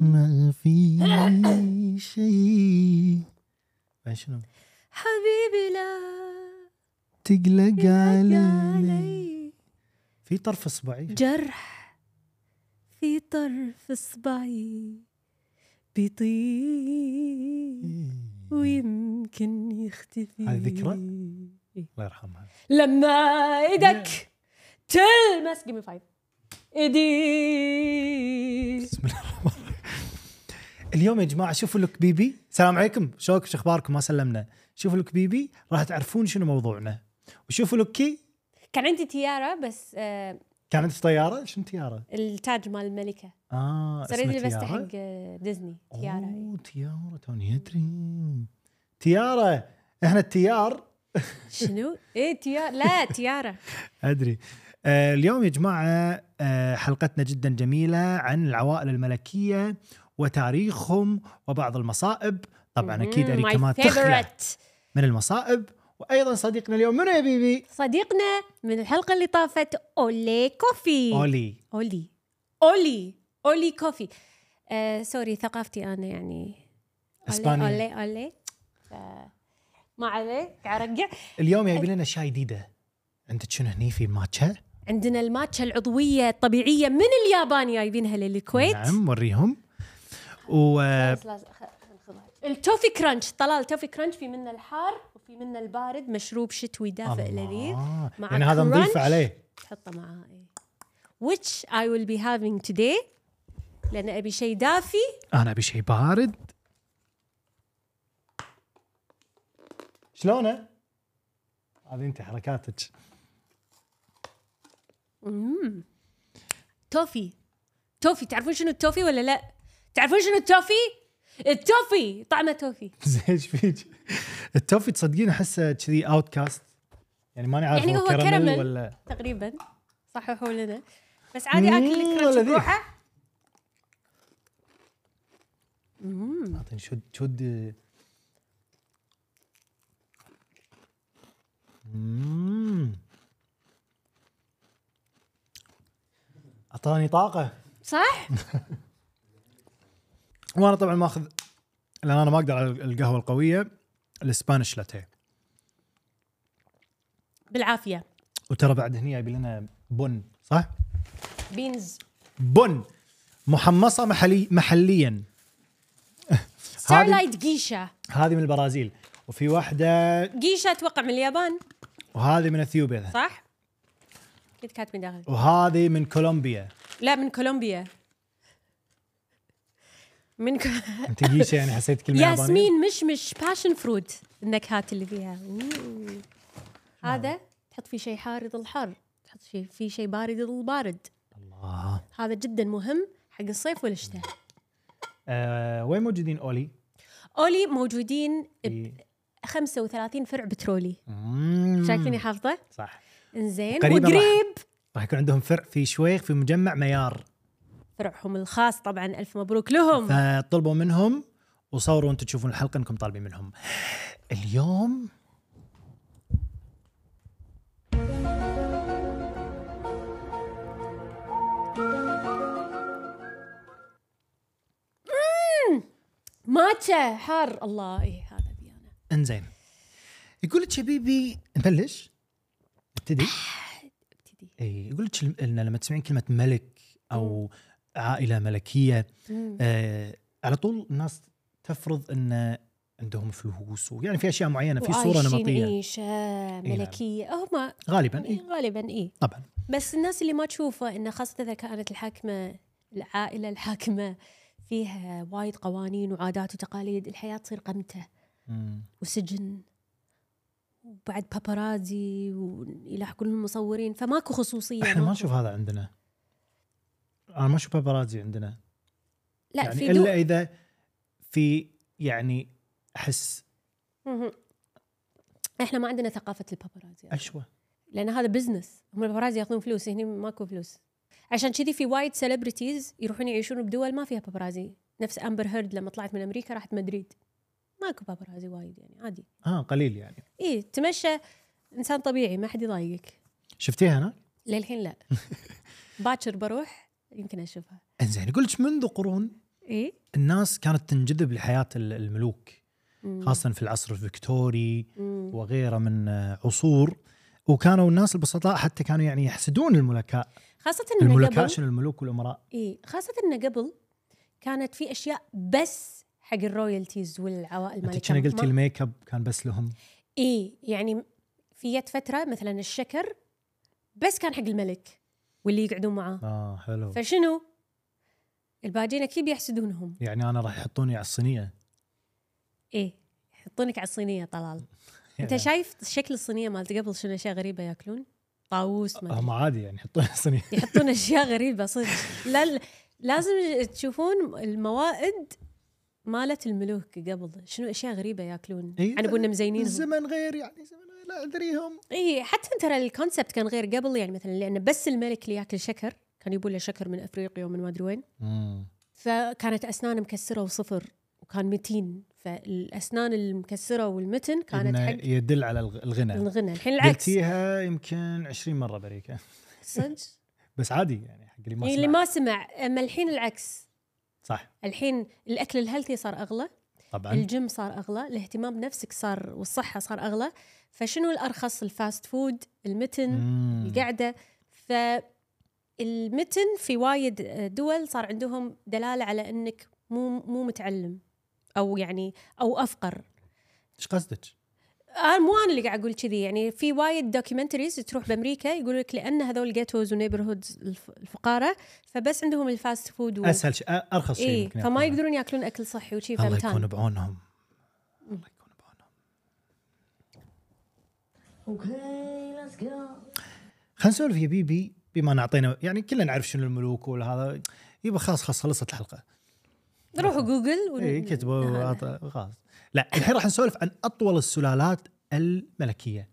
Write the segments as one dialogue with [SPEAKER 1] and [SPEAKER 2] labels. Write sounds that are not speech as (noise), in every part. [SPEAKER 1] ما في شيء بعدين شنو
[SPEAKER 2] حبيبي لا
[SPEAKER 1] تقلق علي
[SPEAKER 2] علي
[SPEAKER 1] في طرف اصبعي
[SPEAKER 2] جرح في طرف اصبعي بيطيب ويمكن يختفي
[SPEAKER 1] هذه ذكرى؟ الله يرحمها
[SPEAKER 2] لما ايدك تلمس جيمي فايف ايدي
[SPEAKER 1] بسم الله الرحمن الرحيم. اليوم يا جماعه شوفوا لك بيبي السلام عليكم شوك شو اخباركم ما سلمنا شوفوا لك بيبي راح تعرفون شنو موضوعنا وشوفوا لكي
[SPEAKER 2] كان عندي تيارة بس آه،
[SPEAKER 1] كانت في طياره شنو تياره
[SPEAKER 2] التاج مال الملكة
[SPEAKER 1] اه
[SPEAKER 2] صرت
[SPEAKER 1] اسمها
[SPEAKER 2] لبسته
[SPEAKER 1] تيارة؟
[SPEAKER 2] حق آه، ديزني تيارة
[SPEAKER 1] اوه تيارة توني ادري تيارة احنا التيار
[SPEAKER 2] شنو؟ ايه تيارة لا تيارة
[SPEAKER 1] ادري آه اليوم يا جماعة آه حلقتنا جدا جميلة عن العوائل الملكية وتاريخهم وبعض المصائب طبعا اكيد
[SPEAKER 2] مم، Mm, my
[SPEAKER 1] اريكا ما تخلع
[SPEAKER 2] favorite.
[SPEAKER 1] من المصائب وايضا صديقنا اليوم منو يا بيبي؟
[SPEAKER 2] صديقنا من الحلقة اللي طافت اولي كوفي
[SPEAKER 1] اولي
[SPEAKER 2] اولي اولي اولي كوفي آه سوري ثقافتي انا يعني أولي-
[SPEAKER 1] إسبانية.
[SPEAKER 2] اولي اولي ف- ما عليك ارجع
[SPEAKER 1] اليوم جايبين لنا شاي جديدة عندك شنو هني في ماتشا؟
[SPEAKER 2] عندنا الماتشا العضوية الطبيعية من اليابان جايبينها للكويت
[SPEAKER 1] نعم وريهم و
[SPEAKER 2] بس لازم- خ- ناخذها. التوفي كرانش طلال التوفي كرانش في منه الحار وفي منه البارد مشروب شتوي دافئ لذيذ
[SPEAKER 1] الله.
[SPEAKER 2] مع
[SPEAKER 1] يعني هذا نضيف
[SPEAKER 2] crunch.
[SPEAKER 1] عليه
[SPEAKER 2] تحطه معاه اي which I will be having today لأن أبي شيء دافي
[SPEAKER 1] انا ابي شيء بارد شلونه؟ هذه انت حركاتك (laughs)
[SPEAKER 2] مم. توفي توفي تعرفون شنو التوفي ولا لا؟ تعرفون شنو التوفي؟ التوفي طعمه توفي
[SPEAKER 1] زين ايش فيك؟ التوفي تصدقين احسه كذي اوت كاست يعني ماني عارف
[SPEAKER 2] يعني هو
[SPEAKER 1] كراميل
[SPEAKER 2] كراميل.
[SPEAKER 1] ولا
[SPEAKER 2] تقريبا صححوا لنا بس عادي اكل
[SPEAKER 1] مم،
[SPEAKER 2] الكرنش
[SPEAKER 1] لذيذ.
[SPEAKER 2] بروحه
[SPEAKER 1] اعطيني شد شد مم. اعطاني طاقه
[SPEAKER 2] صح؟
[SPEAKER 1] وانا طبعا ماخذ لان انا ما اقدر على القهوه القويه الاسبانيش لاتيه
[SPEAKER 2] بالعافيه
[SPEAKER 1] وترى بعد هني جايب لنا بن صح؟
[SPEAKER 2] بينز
[SPEAKER 1] بن محمصه محلي محليا هذه
[SPEAKER 2] ستارلايت جيشا
[SPEAKER 1] هذه من البرازيل وفي واحده
[SPEAKER 2] جيشا اتوقع من اليابان
[SPEAKER 1] وهذه من اثيوبيا
[SPEAKER 2] صح؟ كنت كاتبين داخل
[SPEAKER 1] وهذه من كولومبيا
[SPEAKER 2] لا من كولومبيا من ك...
[SPEAKER 1] انت جيشه يعني حسيت كلمه يابانية؟
[SPEAKER 2] ياسمين مشمش باشن فروت النكهات اللي فيها مم. هذا تحط فيه شيء حار يظل حار تحط فيه, فيه شيء بارد يظل بارد
[SPEAKER 1] الله
[SPEAKER 2] هذا جدا مهم حق الصيف والشتاء
[SPEAKER 1] آه وين موجودين اولي؟
[SPEAKER 2] اولي موجودين ب
[SPEAKER 1] في-
[SPEAKER 2] 35 فرع بترولي
[SPEAKER 1] Mm. مم.
[SPEAKER 2] شايفيني حافظه
[SPEAKER 1] صح
[SPEAKER 2] انزين
[SPEAKER 1] قريباً راح-
[SPEAKER 2] وقريب
[SPEAKER 1] راح يكون عندهم فرع في شويخ في مجمع ميار
[SPEAKER 2] فرعهم الخاص طبعا الف مبروك لهم
[SPEAKER 1] فطلبوا منهم وصوروا وانتم تشوفون الحلقه انكم طالبين منهم اليوم
[SPEAKER 2] ماتشا حار الله اي هذا أبي أنا.
[SPEAKER 1] انزين يقول لك يا بيبي نبلش نبتدي
[SPEAKER 2] ابتدي
[SPEAKER 1] اي إيه، يقول لك الم- ان لما تسمعين كلمه ملك او عائله ملكيه
[SPEAKER 2] مم.
[SPEAKER 1] آه على طول الناس تفرض ان عندهم فلوس ويعني في اشياء معينه في صوره
[SPEAKER 2] وعايشين إيه.
[SPEAKER 1] نمطيه
[SPEAKER 2] عيشه ملكيه هم
[SPEAKER 1] غالبا اي
[SPEAKER 2] غالبا اي
[SPEAKER 1] طبعا
[SPEAKER 2] بس الناس اللي ما تشوفه انه خاصه اذا كانت الحاكمه العائله الحاكمه فيها وايد قوانين وعادات وتقاليد الحياه تصير قمته
[SPEAKER 1] مم.
[SPEAKER 2] وسجن وبعد بابارازي ويلاحقون المصورين فماكو خصوصيه
[SPEAKER 1] احنا ما
[SPEAKER 2] ماكو-
[SPEAKER 1] نشوف هذا عندنا انا ما اشوف باباراتزي عندنا
[SPEAKER 2] لا
[SPEAKER 1] يعني
[SPEAKER 2] في دول
[SPEAKER 1] الا اذا في يعني احس
[SPEAKER 2] مهم. احنا ما عندنا ثقافه البابارازي
[SPEAKER 1] اشوى
[SPEAKER 2] لان هذا بزنس هم البابارازي ياخذون فلوس هنا ماكو فلوس عشان كذي في وايد سيلبرتيز يروحون يعيشون بدول ما فيها بابارازي نفس امبر هيرد لما طلعت من امريكا راحت مدريد ماكو بابارازي وايد يعني عادي
[SPEAKER 1] اه قليل يعني
[SPEAKER 2] اي تمشى انسان طبيعي ما حد يضايقك
[SPEAKER 1] شفتيها انا
[SPEAKER 2] للحين لا باكر بروح يمكن إيه؟ اشوفها
[SPEAKER 1] انزين يقول لك منذ قرون
[SPEAKER 2] اي
[SPEAKER 1] الناس كانت تنجذب لحياه ال- الملوك
[SPEAKER 2] مم.
[SPEAKER 1] خاصه في العصر الفكتوري
[SPEAKER 2] مم.
[SPEAKER 1] وغيره من آه، عصور وكانوا الناس البسطاء حتى كانوا يعني يحسدون الملكاء
[SPEAKER 2] خاصه انه
[SPEAKER 1] الملكاء
[SPEAKER 2] قبل
[SPEAKER 1] شنو الملوك والامراء
[SPEAKER 2] اي خاصه انه قبل كانت في اشياء بس حق الرويالتيز والعوائل
[SPEAKER 1] انت
[SPEAKER 2] المالكه
[SPEAKER 1] كنا قلتي
[SPEAKER 2] ما-
[SPEAKER 1] الميك اب كان بس لهم
[SPEAKER 2] اي يعني في جت فتره مثلا الشكر بس كان حق الملك واللي يقعدون معاه
[SPEAKER 1] اه حلو
[SPEAKER 2] فشنو الباجين اكيد يحسدونهم
[SPEAKER 1] يعني انا راح يحطوني على الصينيه
[SPEAKER 2] ايه يحطونك على الصينيه طلال انت
[SPEAKER 1] يعني
[SPEAKER 2] شايف شكل الصينيه مالت قبل شنو اشياء غريبه ياكلون طاووس ما أدري.
[SPEAKER 1] هم عادي يعني يحطوني على الصينيه
[SPEAKER 2] يحطون اشياء غريبه صدق لا لا- لازم تشوفون الموائد مالت الملوك قبل شنو اشياء غريبه ياكلون
[SPEAKER 1] إيه،
[SPEAKER 2] عن ابونا مزينين
[SPEAKER 1] الزمن غير يعني (laughs) زمن غير لا ادريهم
[SPEAKER 2] اي إيه، حتى ترى الكونسبت كان غير قبل يعني مثلا لان بس الملك اللي ياكل شكر كان يبون له شكر من افريقيا ومن ما ادري وين فكانت اسنانه مكسره وصفر وكان متين فالاسنان المكسره والمتن كانت
[SPEAKER 1] إنه
[SPEAKER 2] حق
[SPEAKER 1] يدل على الغ- الغنى
[SPEAKER 2] الغنى الحين العكس
[SPEAKER 1] قلتيها يمكن 20 مره بريكه
[SPEAKER 2] صدق إيه،
[SPEAKER 1] بس عادي يعني حق اللي ما
[SPEAKER 2] اللي
[SPEAKER 1] سمع.
[SPEAKER 2] ما سمع اما الحين العكس
[SPEAKER 1] صح
[SPEAKER 2] الحين الاكل الهيلثي صار اغلى
[SPEAKER 1] طبعا
[SPEAKER 2] الجيم صار اغلى الاهتمام بنفسك صار والصحه صار اغلى فشنو الارخص الفاست فود المتن
[SPEAKER 1] مم.
[SPEAKER 2] القعده فالمتن في وايد دول صار عندهم دلاله على انك مو مو متعلم او يعني او افقر
[SPEAKER 1] ايش قصدك؟
[SPEAKER 2] انا مو انا اللي قاعد اقول كذي يعني في وايد دوكيومنتريز تروح بامريكا يقول لك لان هذول جيتوز ونيبرهودز الف- الفقاره فبس عندهم الفاست فود و...
[SPEAKER 1] اسهل شيء أ- ارخص شيء
[SPEAKER 2] إيه
[SPEAKER 1] يمكن
[SPEAKER 2] فما
[SPEAKER 1] يأكلونه.
[SPEAKER 2] يقدرون ياكلون اكل صحي وشي
[SPEAKER 1] الله
[SPEAKER 2] فهمتان.
[SPEAKER 1] يكون بعونهم الله يكون بعونهم
[SPEAKER 3] Okay, let's go.
[SPEAKER 1] خلينا نسولف يا بيبي بما ان اعطينا يعني كلنا نعرف شنو الملوك ولا هذا يبا خلاص خلاص خلصت الحلقه
[SPEAKER 2] روحوا جوجل ون...
[SPEAKER 1] اي إيه، كتبوا
[SPEAKER 2] هذا.
[SPEAKER 1] وعطا- خلاص لا الحين راح نسولف عن اطول السلالات الملكيه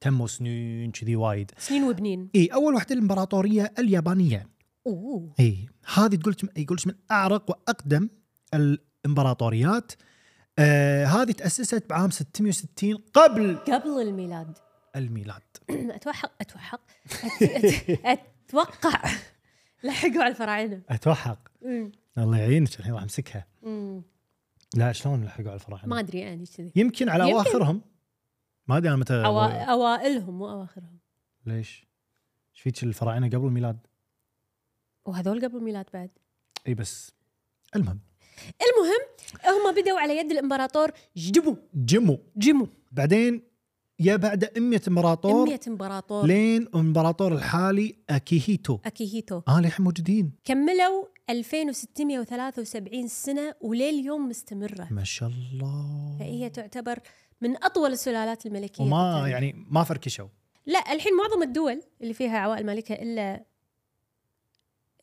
[SPEAKER 1] تموا سنين كذي وايد إيه،
[SPEAKER 2] سنين وبنين
[SPEAKER 1] اي اول واحده الامبراطوريه اليابانيه
[SPEAKER 2] اوه
[SPEAKER 1] اي إيه، هذه تقول يقولش من اعرق واقدم الامبراطوريات آه هذه تاسست بعام 660 قبل
[SPEAKER 2] قبل الميلاد
[SPEAKER 1] الميلاد
[SPEAKER 2] (coughs) اتوحق اتوحق أت- أت- اتوقع (laughs) لحقوا على الفراعنه
[SPEAKER 1] اتوحق
[SPEAKER 2] أمم،
[SPEAKER 1] الله يعينك الحين راح امسكها
[SPEAKER 2] أمم.
[SPEAKER 1] لا شلون لحقوا على الفراعنه
[SPEAKER 2] ما ادري يعني كذي
[SPEAKER 1] يمكن على
[SPEAKER 2] يمكن.
[SPEAKER 1] اواخرهم ما ادري انا متى
[SPEAKER 2] أوا... اوائلهم مو اواخرهم
[SPEAKER 1] ليش؟ ايش فيك الفراعنه قبل الميلاد؟
[SPEAKER 2] وهذول قبل الميلاد بعد
[SPEAKER 1] اي بس المهم
[SPEAKER 2] المهم هم بدوا على يد الامبراطور جدبو
[SPEAKER 1] جمو
[SPEAKER 2] جيمو
[SPEAKER 1] بعدين يا بعد 100 امبراطور
[SPEAKER 2] 100 امبراطور
[SPEAKER 1] لين امبراطور الحالي اكيهيتو
[SPEAKER 2] اكيهيتو
[SPEAKER 1] اه للحين موجودين
[SPEAKER 2] كملوا 2673 سنه ولليوم مستمره
[SPEAKER 1] ما شاء الله
[SPEAKER 2] فهي تعتبر من اطول السلالات الملكيه في
[SPEAKER 1] وما
[SPEAKER 2] التاريخ.
[SPEAKER 1] يعني ما فركشوا
[SPEAKER 2] لا الحين معظم الدول اللي فيها عوائل مالكه الا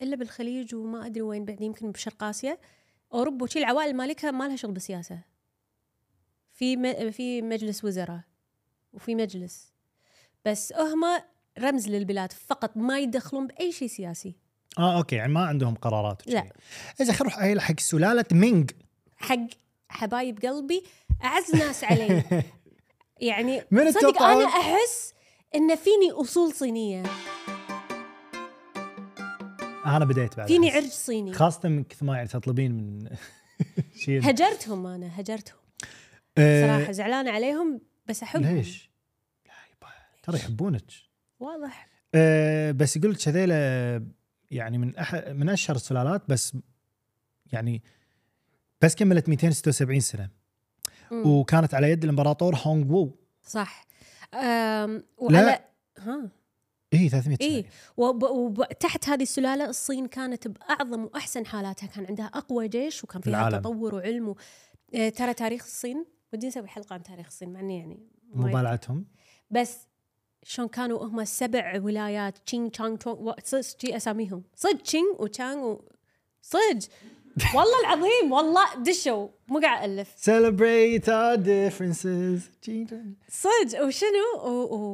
[SPEAKER 2] الا بالخليج وما ادري وين بعد يمكن بشرق اسيا اوروبا وشي العوائل مالكه ما لها شغل بالسياسه في م... في مجلس وزراء وفي مجلس بس هم رمز للبلاد فقط ما يدخلون باي شيء سياسي
[SPEAKER 1] اه اوكي يعني ما عندهم قرارات
[SPEAKER 2] لا.
[SPEAKER 1] وشي. اذا خلينا نروح عيل حق سلاله مينغ
[SPEAKER 2] حق حبايب قلبي اعز ناس علي يعني
[SPEAKER 1] من
[SPEAKER 2] صدق
[SPEAKER 1] تتوقعون؟
[SPEAKER 2] انا احس ان فيني اصول صينيه
[SPEAKER 1] انا بديت بعد
[SPEAKER 2] فيني
[SPEAKER 1] أحس.
[SPEAKER 2] عرج صيني
[SPEAKER 1] خاصه من كثر ما يعني تطلبين من (laughs) شيء
[SPEAKER 2] هجرتهم انا هجرتهم
[SPEAKER 1] آه،
[SPEAKER 2] صراحه زعلانه عليهم بس احبهم
[SPEAKER 1] ليش؟ لا يبا، ترى يحبونك
[SPEAKER 2] واضح
[SPEAKER 1] أه بس يقول لك هذيلا يعني من أح من اشهر السلالات بس يعني بس كملت 276 سنه
[SPEAKER 2] مم.
[SPEAKER 1] وكانت على يد الامبراطور هونغ وو
[SPEAKER 2] صح أم وعلى
[SPEAKER 1] لا.
[SPEAKER 2] ها
[SPEAKER 1] اي 300
[SPEAKER 2] إيه.
[SPEAKER 1] سنه
[SPEAKER 2] وب... وب... تحت هذه السلاله الصين كانت باعظم واحسن حالاتها كان عندها اقوى جيش وكان فيها
[SPEAKER 1] العالم.
[SPEAKER 2] تطور وعلم و... آه، ترى تاريخ الصين ودي نسوي حلقه عن تاريخ الصين مع اني يعني وايد-
[SPEAKER 1] مبالعتهم
[SPEAKER 2] بس شلون كانوا هم سبع ولايات تشينغ تشانغ تونغ و- صدق جي اساميهم صدق تشينغ وتشانغ و... صدق والله العظيم والله دشوا مو قاعد الف
[SPEAKER 1] celebrate our differences
[SPEAKER 2] صدق وشنو و-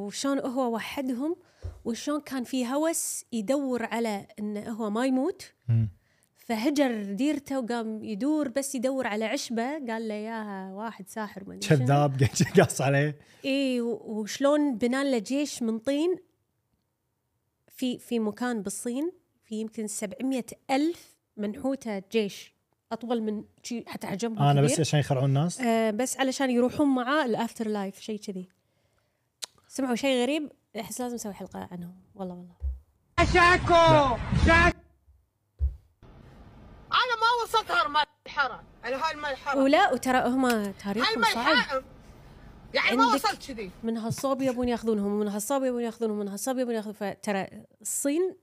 [SPEAKER 2] وشلون هو وحدهم وشلون كان في هوس يدور على انه هو ما يموت
[SPEAKER 1] مم.
[SPEAKER 2] فهجر ديرته وقام يدور بس يدور على عشبه قال له اياها واحد ساحر ما ادري شنو.
[SPEAKER 1] كذاب قاعد قص عليه
[SPEAKER 2] اي و- وشلون بنى له جيش من طين في في مكان بالصين في في يمكن 700 ألف منحوته جيش أطول من شي حتى حجمهم
[SPEAKER 1] انا
[SPEAKER 2] كبير.
[SPEAKER 1] بس عشان يخرعون الناس
[SPEAKER 2] آه، بس علشان يروحون معاه الافتر لايف شيء كذي سمعوا شيء غريب احس لازم اسوي حلقه عنهم والله والله
[SPEAKER 4] شاكو شاكو انا ما وصلت هالمرحله على هالمرحله
[SPEAKER 2] ولا وترى هم تاريخهم صعب
[SPEAKER 4] هالمرحله يعني ما
[SPEAKER 2] عندك-
[SPEAKER 4] وصلت كذي
[SPEAKER 2] من هالصوب يبون ياخذونهم ومن هالصوب يبون ياخذونهم ومن هالصوب يبون ياخذون فترى الصين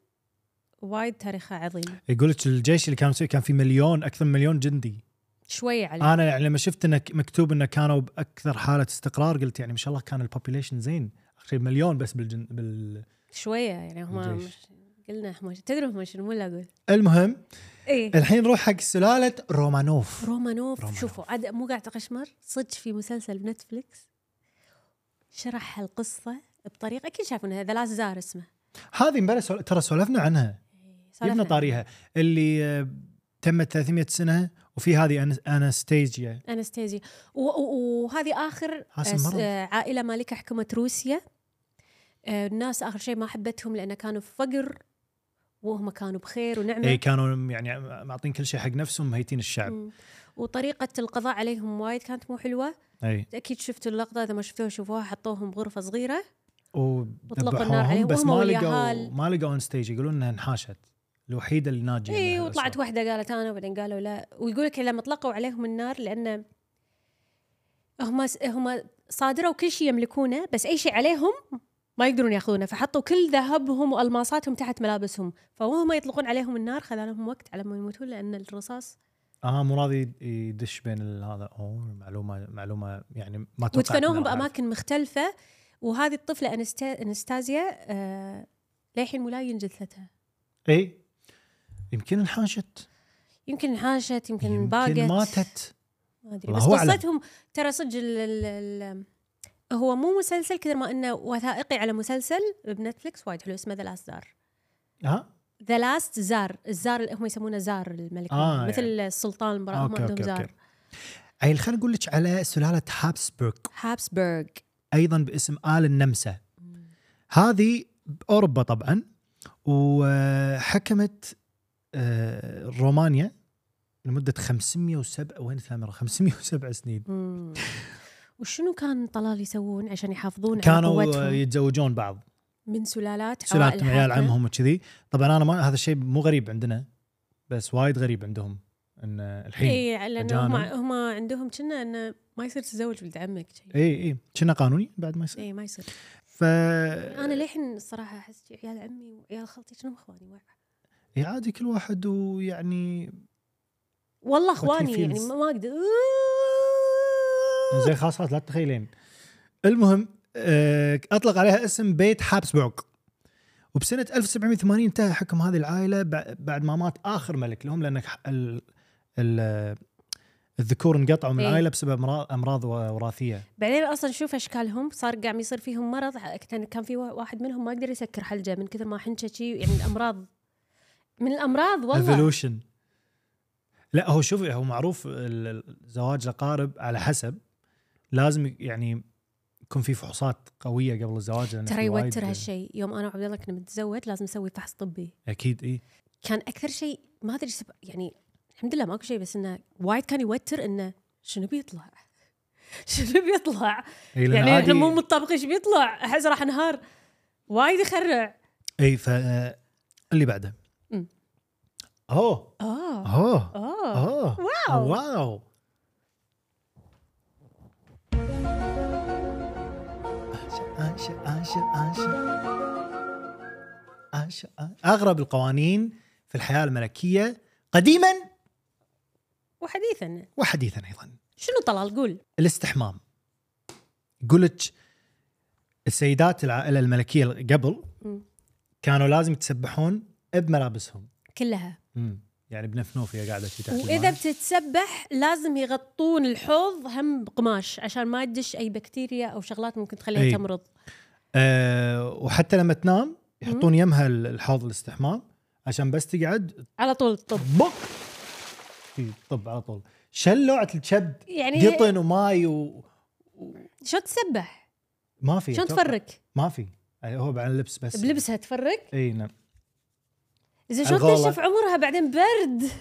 [SPEAKER 2] وايد تاريخها عظيم
[SPEAKER 1] يقول لك الجيش اللي كان مسوي كان في مليون اكثر من مليون جندي
[SPEAKER 2] شويه عليه
[SPEAKER 1] انا يعني لما شفت انه مكتوب انه كانوا باكثر حاله استقرار قلت يعني ما شاء الله كان البوبيليشن زين اخر مليون بس بالجن بال...
[SPEAKER 2] شويه يعني هم
[SPEAKER 1] الجيش.
[SPEAKER 2] مش قلنا هم تدري هم شنو ولا اقول
[SPEAKER 1] المهم
[SPEAKER 2] ايه
[SPEAKER 1] الحين نروح حق سلاله رومانوف
[SPEAKER 2] رومانوف
[SPEAKER 1] رومانوف.
[SPEAKER 2] شوفوا عاد مو قاعد اقشمر صدق في مسلسل بنتفلكس شرح هالقصه بطريقه اكيد شافون هذا لا زار اسمه
[SPEAKER 1] هذه امبارح سول- ترى سولفنا عنها جبنا
[SPEAKER 2] سولفنا.
[SPEAKER 1] طاريها اللي آه، تمت 300 سنه وفي هذه أن- انستيجيا
[SPEAKER 2] انستيزيا و- و- وهذه اخر
[SPEAKER 1] عاصم
[SPEAKER 2] أس-
[SPEAKER 1] مرض.
[SPEAKER 2] آه، عائله مالكه حكومه روسيا آه، الناس اخر شيء ما حبتهم لان كانوا في فقر وهم كانوا بخير ونعمه
[SPEAKER 1] اي كانوا يعني معطين كل شيء حق نفسهم مهيتين الشعب
[SPEAKER 2] نعم. مم. وطريقه القضاء عليهم وايد كانت مو حلوه
[SPEAKER 1] اي
[SPEAKER 2] اكيد شفتوا اللقطه اذا ما شفتوها شوفوها حطوهم بغرفه صغيره وأطلقوا النار
[SPEAKER 1] وذبحوهم
[SPEAKER 2] عليهم
[SPEAKER 1] بس
[SPEAKER 2] وهم
[SPEAKER 1] ما لقوا
[SPEAKER 2] واليهال.
[SPEAKER 1] ما لقوا انستيج يقولون انها انحاشت الوحيده اللي ناجيه من
[SPEAKER 2] اي
[SPEAKER 1] هالأسوأ.
[SPEAKER 2] إيه، وطلعت واحده قالت انا وبعدين قالوا لا ويقول لك لما طلقوا عليهم النار لان هم هم صادروا كل شيء يملكونه بس اي شيء عليهم ما يقدرون ياخذونه فحطوا كل ذهبهم والماصاتهم تحت ملابسهم فوهم يطلقون عليهم النار خذا لهم وقت على ما يموتون لان الرصاص
[SPEAKER 1] اه مو راضي يدش بين ال- هذا اوه معلومه معلومه يعني ما توقعت
[SPEAKER 2] ودفنوهم
[SPEAKER 1] إنه راح أعرف.
[SPEAKER 2] باماكن مختلفه وهذه الطفله أنست- انستازيا آه للحين ولا ينجد جثتها
[SPEAKER 1] اي إيه، يمكن انحاشت
[SPEAKER 2] يمكن انحاشت يمكن,
[SPEAKER 1] يمكن
[SPEAKER 2] باقت
[SPEAKER 1] ماتت
[SPEAKER 2] ما ادري بس
[SPEAKER 1] الله أعلم.
[SPEAKER 2] قصتهم ترى صدق ال- ال- ال- هو مو مسلسل كثر ما انه وثائقي على مسلسل بنتفلكس وايد حلو اسمه ذا لاست زار
[SPEAKER 1] ها
[SPEAKER 2] ذا لاست زار الزار اللي هم يسمونه زار الملك
[SPEAKER 1] آه،
[SPEAKER 2] آه مثل
[SPEAKER 1] يعني.
[SPEAKER 2] يعني. السلطان المرأة هم
[SPEAKER 1] اوكي
[SPEAKER 2] عندهم
[SPEAKER 1] اوكي
[SPEAKER 2] زار
[SPEAKER 1] اوكي اي خليني اقول لك على سلاله هابسبورغ
[SPEAKER 2] هابسبرغ
[SPEAKER 1] ايضا باسم ال النمسا هذه باوروبا طبعا وحكمت آه، رومانيا لمده 507 وين الثامره 507 سنين (laughs)
[SPEAKER 2] مم. وشنو كان طلال يسوون عشان يحافظون على
[SPEAKER 1] كانوا آه،
[SPEAKER 2] قوتهم
[SPEAKER 1] يتزوجون بعض
[SPEAKER 2] من سلالات
[SPEAKER 1] سلالتهم
[SPEAKER 2] عوائل
[SPEAKER 1] عيال
[SPEAKER 2] حاكمة؟
[SPEAKER 1] عمهم وكذي طبعا انا ما هذا الشيء مو غريب عندنا بس وايد غريب عندهم ان آه، الحين
[SPEAKER 2] اي لان
[SPEAKER 1] أجانب.
[SPEAKER 2] هم إيه، هم عندهم كنا انه ما يصير تتزوج ولد عمك شي.
[SPEAKER 1] اي اي إيه، كنا قانوني بعد ما يصير
[SPEAKER 2] اي ما يصير
[SPEAKER 1] ف
[SPEAKER 2] انا للحين الصراحه احس شي عيال عمي وعيال خالتي شنو اخواني واع.
[SPEAKER 1] إي عادي كل واحد ويعني
[SPEAKER 2] والله
[SPEAKER 1] What he
[SPEAKER 2] اخواني يعني
[SPEAKER 1] feels.
[SPEAKER 2] ما ما اقدر
[SPEAKER 1] زين خاصات لا تتخيلين المهم آه، اطلق عليها اسم بيت حابسبورغ وبسنه 1780 انتهى حكم هذه العائله بع- بعد ما مات اخر ملك لهم لان ح- ال- ال- الذكور انقطعوا من
[SPEAKER 2] إيه.
[SPEAKER 1] العائله بسبب أمرا- امراض وراثيه
[SPEAKER 2] بعدين اصلا شوف اشكالهم صار قاعد يصير فيهم مرض كان كان في وا- واحد منهم ما قدر يسكر حلجه من كثر ما حنشه شي يعني الامراض من الامراض والله
[SPEAKER 1] ايفولوشن لا هو شوف هو معروف ال- ال- زواج الاقارب على حسب لازم يعني يكون في فحوصات قويه قبل الزواج لأن
[SPEAKER 2] ترى
[SPEAKER 1] في وايد-
[SPEAKER 2] يوتر هالشيء يوم انا وعبد الله كنا متزوج لازم نسوي فحص طبي
[SPEAKER 1] اكيد اي
[SPEAKER 2] كان اكثر شيء ما ادري سب... يعني الحمد لله ماكو شيء بس انه وايد كان يوتر انه شنو بيطلع (laughs) شنو بيطلع
[SPEAKER 1] إي، لأن
[SPEAKER 2] يعني
[SPEAKER 1] عادي-
[SPEAKER 2] احنا مو متطابقين ايش بيطلع احس راح انهار وايد يخرع
[SPEAKER 1] اي ف آه، اللي بعده
[SPEAKER 2] أمم.
[SPEAKER 1] اوه
[SPEAKER 2] اه
[SPEAKER 1] اوه
[SPEAKER 2] اه
[SPEAKER 1] اوه
[SPEAKER 2] واو.
[SPEAKER 1] واو أنشأ- أنشأ- أنشأ- أنشأ- أنشأ. اغرب القوانين في الحياه الملكيه قديما
[SPEAKER 2] وحديثا
[SPEAKER 1] وحديثا ايضا
[SPEAKER 2] شنو طلال قول
[SPEAKER 1] الاستحمام يقول لك السيدات العائله الملكيه قبل
[SPEAKER 2] مم.
[SPEAKER 1] كانوا لازم يتسبحون بملابسهم
[SPEAKER 2] كلها
[SPEAKER 1] مم. يعني بنفنوفيا قاعده في تحت
[SPEAKER 2] واذا
[SPEAKER 1] الماء.
[SPEAKER 2] بتتسبح لازم يغطون الحوض هم بقماش عشان ما تدش اي بكتيريا او شغلات ممكن تخليها
[SPEAKER 1] أي.
[SPEAKER 2] تمرض
[SPEAKER 1] أه وحتى لما تنام يحطون يمها ال- الحوض الاستحمام عشان بس تقعد
[SPEAKER 2] على طول طب
[SPEAKER 1] بق في طب على طول شلوعة الكبد
[SPEAKER 2] يعني
[SPEAKER 1] قطن وماي وما
[SPEAKER 2] شو تسبح
[SPEAKER 1] في
[SPEAKER 2] شلون
[SPEAKER 1] أتوقع.
[SPEAKER 2] تفرك
[SPEAKER 1] ما في أي هو بعد اللبس بس
[SPEAKER 2] بلبسها تفرك
[SPEAKER 1] اي نعم
[SPEAKER 2] زين شلون
[SPEAKER 1] الغالة.
[SPEAKER 2] تنشف عمرها بعدين برد